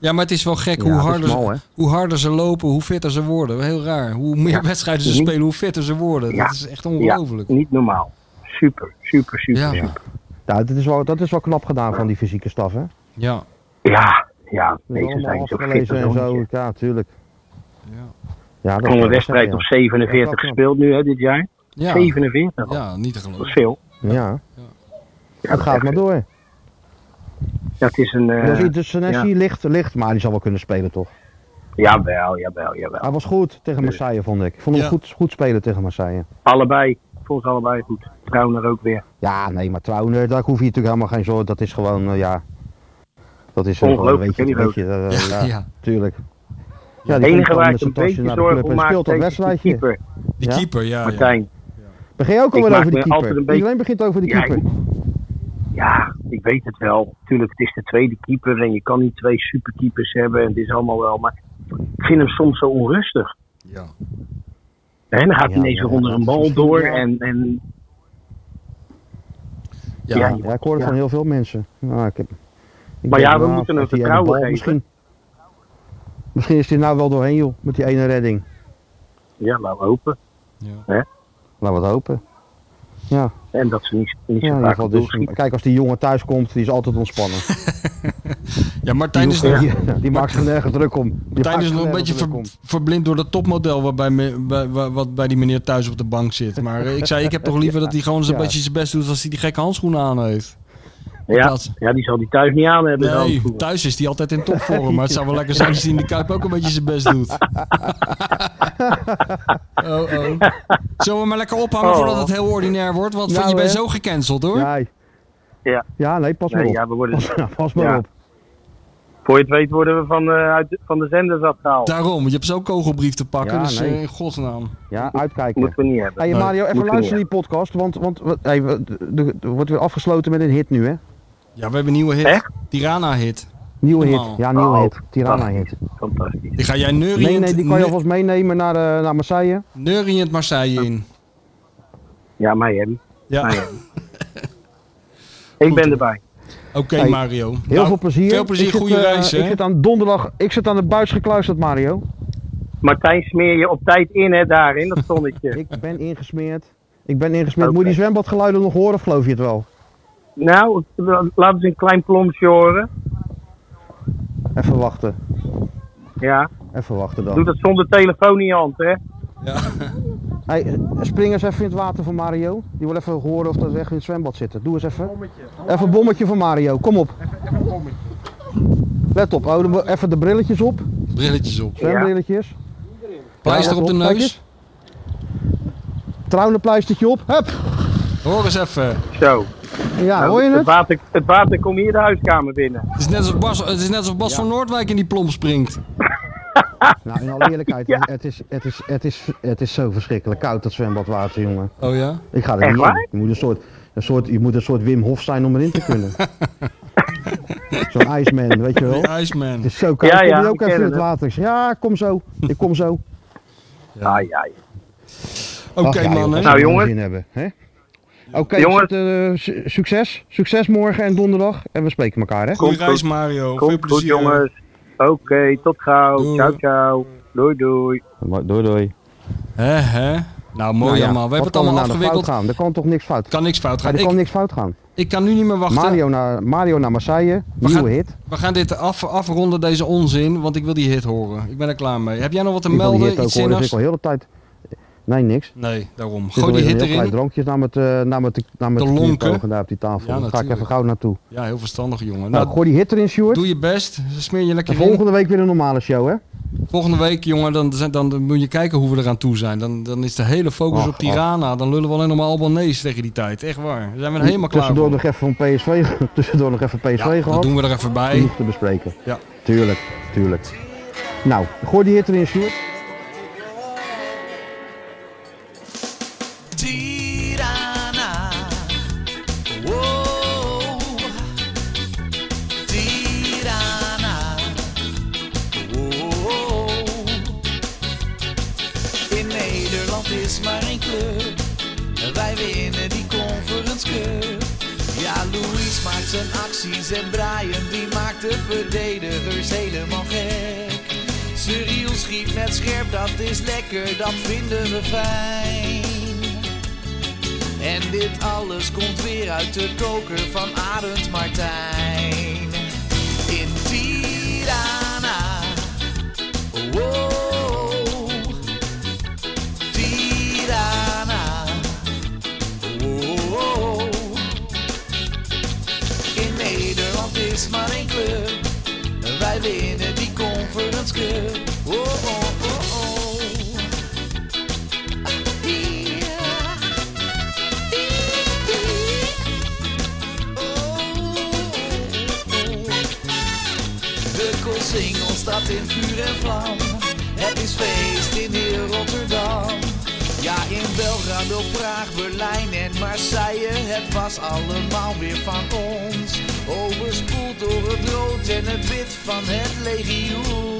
S4: Ja, maar het is wel
S3: Ja,
S4: gek hoe,
S3: het is
S4: harder
S3: mal, hè?
S4: ze, hoe harder ze lopen, hoe fitter ze worden. Heel raar. Hoe meer wedstrijden ze
S8: Mhm.
S4: spelen, hoe fitter ze worden.
S8: Ja.
S4: Dat is echt ongelooflijk.
S8: Ja, niet normaal. Super, super, super,
S4: Ja.
S8: super.
S3: Nou, dat, is wel, dat is wel knap gedaan van die fysieke staf, hè?
S4: Ja.
S8: Ja, ja,
S3: Dat is
S8: deze zijn zo fit
S3: afgelezen
S8: als
S3: en
S8: een
S3: zo.
S8: hondje.
S3: Ja, tuurlijk.
S4: Ja.
S3: Ja, dat
S8: Gewoon een
S3: dat
S8: wedstrijd
S3: ja.
S8: op 47
S3: Ja, dat
S8: gespeeld nu, hè, dit jaar.
S4: Ja.
S8: 47, al.
S4: ja, niet te
S8: dat is
S4: geloven.
S8: veel.
S3: Ja,
S8: Ja,
S3: dat gaat
S8: is-
S3: maar door.
S8: Ja, het is een... eh,
S3: Dus uh, Senesi ligt, ligt, maar die zal wel kunnen spelen, toch?
S8: jawel, jawel, jawel.
S3: Hij was goed tegen Marseille, vond ik. Ik vond hem
S4: Ja.
S3: goed, goed spelen tegen Marseille.
S8: Allebei, volgens allebei goed. Trouwner ook weer.
S3: Ja, nee, maar Trouwner, daar hoef je natuurlijk helemaal geen zorgen. Dat is gewoon, eh, ja... Dat is eh,
S8: Ongelooflijk,
S3: gewoon, weet je,
S8: hè, die
S3: weet je eh, ja,
S4: Ja. ja.
S3: tuurlijk. Ja,
S8: Het
S3: die komt
S8: enige
S3: gewoon
S8: waar
S3: met
S8: ik een
S3: zijn tasje
S8: beetje
S3: naar de club
S8: zorgen om
S3: en
S8: maak
S3: speelt dat
S8: tegen is de
S3: wedstrijdje.
S8: keeper,
S4: Die
S3: Ja?
S4: keeper, ja. ja.
S8: Martijn.
S3: Begin je ook
S8: Ik
S3: alweer
S8: maak
S3: over de
S8: me
S3: keeper?
S8: altijd een beetje-
S3: Iedereen begint over de
S8: Ja,
S3: keeper.
S8: Ja, ik weet het wel. Tuurlijk, het is de tweede keeper en je kan niet twee superkeepers hebben. En het is allemaal wel, maar ik vind hem soms zo onrustig.
S4: Ja.
S8: Hè, dan gaat
S3: Ja,
S8: hij ineens
S3: ja,
S8: weer
S3: ja,
S8: onder
S3: dat
S8: een
S3: is
S8: bal
S3: misschien
S8: door
S3: wel.
S8: en, en
S4: Ja.
S8: Ja.
S3: Ja, ik hoor het
S8: Ja.
S3: van heel veel mensen. Nou, ik heb, ik
S8: Maar
S3: denk,
S8: ja, we
S3: nou,
S8: moeten hem
S3: met die ene
S8: vertrouwen
S3: bal
S8: geven.
S3: Misschien, misschien is hij nou wel doorheen, joh, met die ene redding.
S8: ja, laten we hopen.
S3: Laten we het hopen.
S8: En dat ze niet, niet
S3: Ja, in
S8: zo
S3: ieder
S8: vaak
S3: geval
S8: op
S3: dus,
S8: doel schieten.
S3: kijk, als die jongen thuis komt, die is altijd ontspannen.
S4: Ja,
S3: Die,
S4: Martijn is,
S3: hoeft- die, die maakt zich nergens druk om. Die
S4: Martijn
S3: maakt
S4: is
S3: zich
S4: nog een
S3: nergens
S4: beetje
S3: druk
S4: ver-
S3: om.
S4: verblind door dat topmodel waarbij me- bij- wa- wat bij die meneer thuis op de bank zit. Maar eh, ik zei, ik heb toch liever dat hij gewoon eens een
S3: Ja.
S4: beetje zijn best doet als hij die gekke handschoenen aan heeft. In
S8: Ja,
S4: plaats-
S8: ja, die zal die thuis niet aan hebben. dan
S4: Nee,
S8: vroeger.
S4: thuis is hij altijd in topvorm. Maar het zou wel lekker zijn als hij in de Kuip ook een beetje zijn
S3: [laughs]
S4: best doet. oh, oh. Zullen we maar lekker ophangen
S8: Oh.
S4: voordat het heel ordinair wordt? Want
S3: Nou,
S4: je bent
S3: hè?
S4: zo gecanceld hoor. Ja,
S3: Nee.
S8: Ja.
S3: ja, nee, pas maar
S8: Nee,
S3: op.
S8: ja, we worden,
S3: [laughs] Pas, nou, pas maar
S8: Ja.
S3: op.
S8: voor je het weet worden we van, eh, uit, de- van de zenders afgehaald.
S4: Daarom, je hebt zo'n kogelbrief te pakken.
S3: Ja,
S4: dus eh,
S3: nee.
S4: in godsnaam.
S3: Ja, uitkijken.
S8: Moeten we niet hebben.
S3: Hey
S4: Nee,
S3: Mario, even
S8: moeten we
S3: luisteren die podcast, want, want wat- hey, we- de- de- wordt weer afgesloten met een hit nu, hè?
S4: Ja, we hebben een nieuwe hit.
S8: Echt?
S4: Tirana-hit.
S3: Nieuwe
S4: Normaal.
S3: hit. Ja, nieuwe
S8: Oh,
S3: hit. Tirana hit.
S8: Fantastisch.
S4: Die ga jij neuriënd,
S3: Nee, nee, die kan je
S4: ne-
S3: alvast meenemen naar, eh, naar Marseille.
S4: neuriënd Marseille in.
S8: Ja, mij hebben.
S3: Nou
S4: Ja,
S8: ja.
S4: oké
S8: Ik ben erbij.
S3: Hey,
S4: Mario.
S3: Heel
S4: Nou,
S3: veel plezier.
S4: Veel plezier,
S3: Ik zit,
S4: goede
S3: eh,
S4: reis
S3: Ik
S4: hè.
S3: zit aan donderdag, ik zit aan de buis gekluisterd, Mario.
S8: Martijn, smeer je op tijd in, hè, daar in dat zonnetje.
S3: [laughs] Ik ben ingesmeerd. Ik ben ingesmeerd.
S8: Oké.
S3: Moet je die zwembadgeluiden nog horen of geloof je het wel?
S8: Nou, laten eens een klein plompje horen.
S3: Even wachten.
S8: Ja,
S3: Even wachten
S8: doe
S3: dan.
S8: dat zonder telefoon in je hand, hè.
S3: Hey, spring eens even in het water van Mario. Die wil even horen of dat we echt in het zwembad zitten. Doe eens even. Even een bommetje van Mario. Kom op. Let op. Oh, dan moet- even de brilletjes op.
S4: Brilletjes op.
S3: Zwembrilletjes.
S4: Pleister op de
S3: Kijk
S4: neus.
S3: eens. Trouwne pleistertje op. Hup.
S4: Hoor eens even.
S8: Zo.
S3: Ja,
S8: Nou,
S3: Ah, hoor je
S8: het?
S3: het?
S8: Water, het water komt hier de huiskamer binnen.
S4: Het is net alsof Bas, het is net alsof Bas van Noordwijk in die plomp springt.
S3: Nou, in alle
S8: [laughs]
S3: eerlijkheid,
S8: Ja.
S3: het, is, het, is, het, is, het is zo verschrikkelijk koud dat zwembadwater, jongen.
S4: Oh ja?
S3: Ik ga er
S8: Echt
S3: niet
S8: waar?
S3: in. Je moet, een soort, een soort, je moet een soort Wim Hof zijn om erin te
S8: [laughs]
S3: kunnen. Zo'n ijsman, weet je wel.
S4: Die
S3: Het
S4: Iceman.
S3: is zo koud.
S8: Ja,
S3: kom
S8: ja,
S3: je
S8: ik
S3: ook
S8: ken
S3: even in het
S8: het.
S3: water? Ik zeg, Ja, kom zo. Ik kom zo.
S8: Ja. Ah, ja, ja.
S4: Oké
S3: Ach, ja, joh,
S4: man,
S3: als
S4: hè?
S3: we
S8: Nou,
S3: er
S8: jongens.
S3: zin hebben, hè? Oké,
S8: Jongens.
S3: zet, eh, su- succes. Succes morgen en donderdag. En we spreken elkaar, hè?
S4: Goeie
S8: Komt
S4: reis
S8: Nou, goed.
S4: Mario. veel
S8: Komt
S4: plezier.
S8: goed, jongens. Oké, tot gauw.
S4: Doei.
S8: Ciao, ciao. Doei, doei.
S3: Doei, doei.
S4: Hè, hè? Nou, mooi
S3: Nou ja,
S4: allemaal. We
S3: Nou wat
S4: hebben het
S3: kan er
S4: allemaal
S3: nou nog
S4: afgewikkeld.
S3: fout gaan? Er kan toch niks fout
S4: Kan niks fout
S3: gaan?
S4: gaan.
S3: Er
S4: Ik,
S3: kan niks fout gaan.
S4: ik kan nu niet meer wachten.
S3: Mario naar, Mario naar Marseille,
S4: We gaan-
S3: nieuwe hit.
S4: We gaan dit af, afronden, deze onzin, want ik wil die hit horen. Ik ben er klaar mee. Heb jij nog wat te
S3: Ik wil die
S4: melden?
S3: hit ook
S4: Iets
S3: horen, dus
S4: zinnigs?
S3: ik al heel de tijd... Nee, niks.
S4: Nee, daarom.
S3: Zit
S4: Gooi die
S3: alweer
S4: hit
S3: een heel klein
S4: erin.
S3: drankjes naar met, eh naar met, naar met
S4: Te lonken.
S3: daar op die tafel.
S4: Ja,
S3: Daar ga ik
S4: natuurlijk.
S3: even gauw naartoe.
S4: Ja, heel verstandig, jongen.
S3: Nou,
S4: Nou,
S3: gooi die hit erin, Sjoerd.
S4: doe je best. Smeer je
S3: En
S4: lekker in.
S3: volgende week weer een normale show, hè?
S4: Volgende week, jongen, dan, dan, dan moet je kijken hoe we eraan toe zijn. Dan, dan is de hele focus
S3: Ach,
S4: op Tirana. Dan lullen we alleen nog maar Albanese tegen die tijd. Echt waar. Dan zijn we er helemaal klaar
S3: tussendoor
S4: voor.
S3: nog even van PSV, ge- [laughs] tussendoor nog even PSV
S4: Ja, dat
S3: gehad.
S4: doen we er even bij.
S3: Genoeg te bespreken.
S4: Ja.
S3: Tuurlijk, tuurlijk. Nou, gooi die hit erin, Sjoerd.
S7: Tirana. Wow. Tirana. Wow. In Nederland is maar één club. Wij winnen die Conference Cup. Ja, Louis maakt zijn acties en Brian die maakt de verdedigers helemaal gek. Cyril schiet met scherp, dat is lekker, dat vinden we fijn. En dit alles komt weer uit de koker van Arend Martijn. In Tirana. Wow. Tirana. Wow. In Nederland is maar één club. Wij winnen die Conference Cup. Oh, oh, oh, oh. Ah, yeah. De Koolsingel staat in vuur en vlam. Het is feest in heel Rotterdam. Ja, in Belgrado, Praag, Berlijn en Marseille. Het was allemaal weer van ons. Overspoeld door het rood en het wit van het legioen.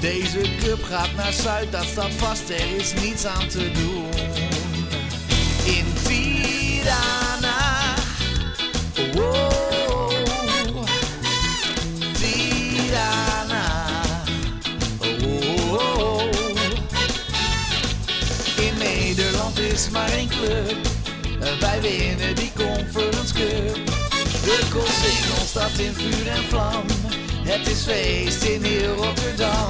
S7: Deze cup gaat naar Zuid, dat staat vast. Er is niets aan te doen in Tirana. Wow. Tirana. Wow. In Nederland is maar één club. Wij winnen die Conference Cup. De Koolsingel staat in vuur en vlam. Het is feest in heel Rotterdam.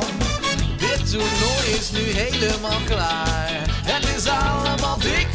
S7: Dit toernooi is nu helemaal klaar. Het is allemaal dik Oh,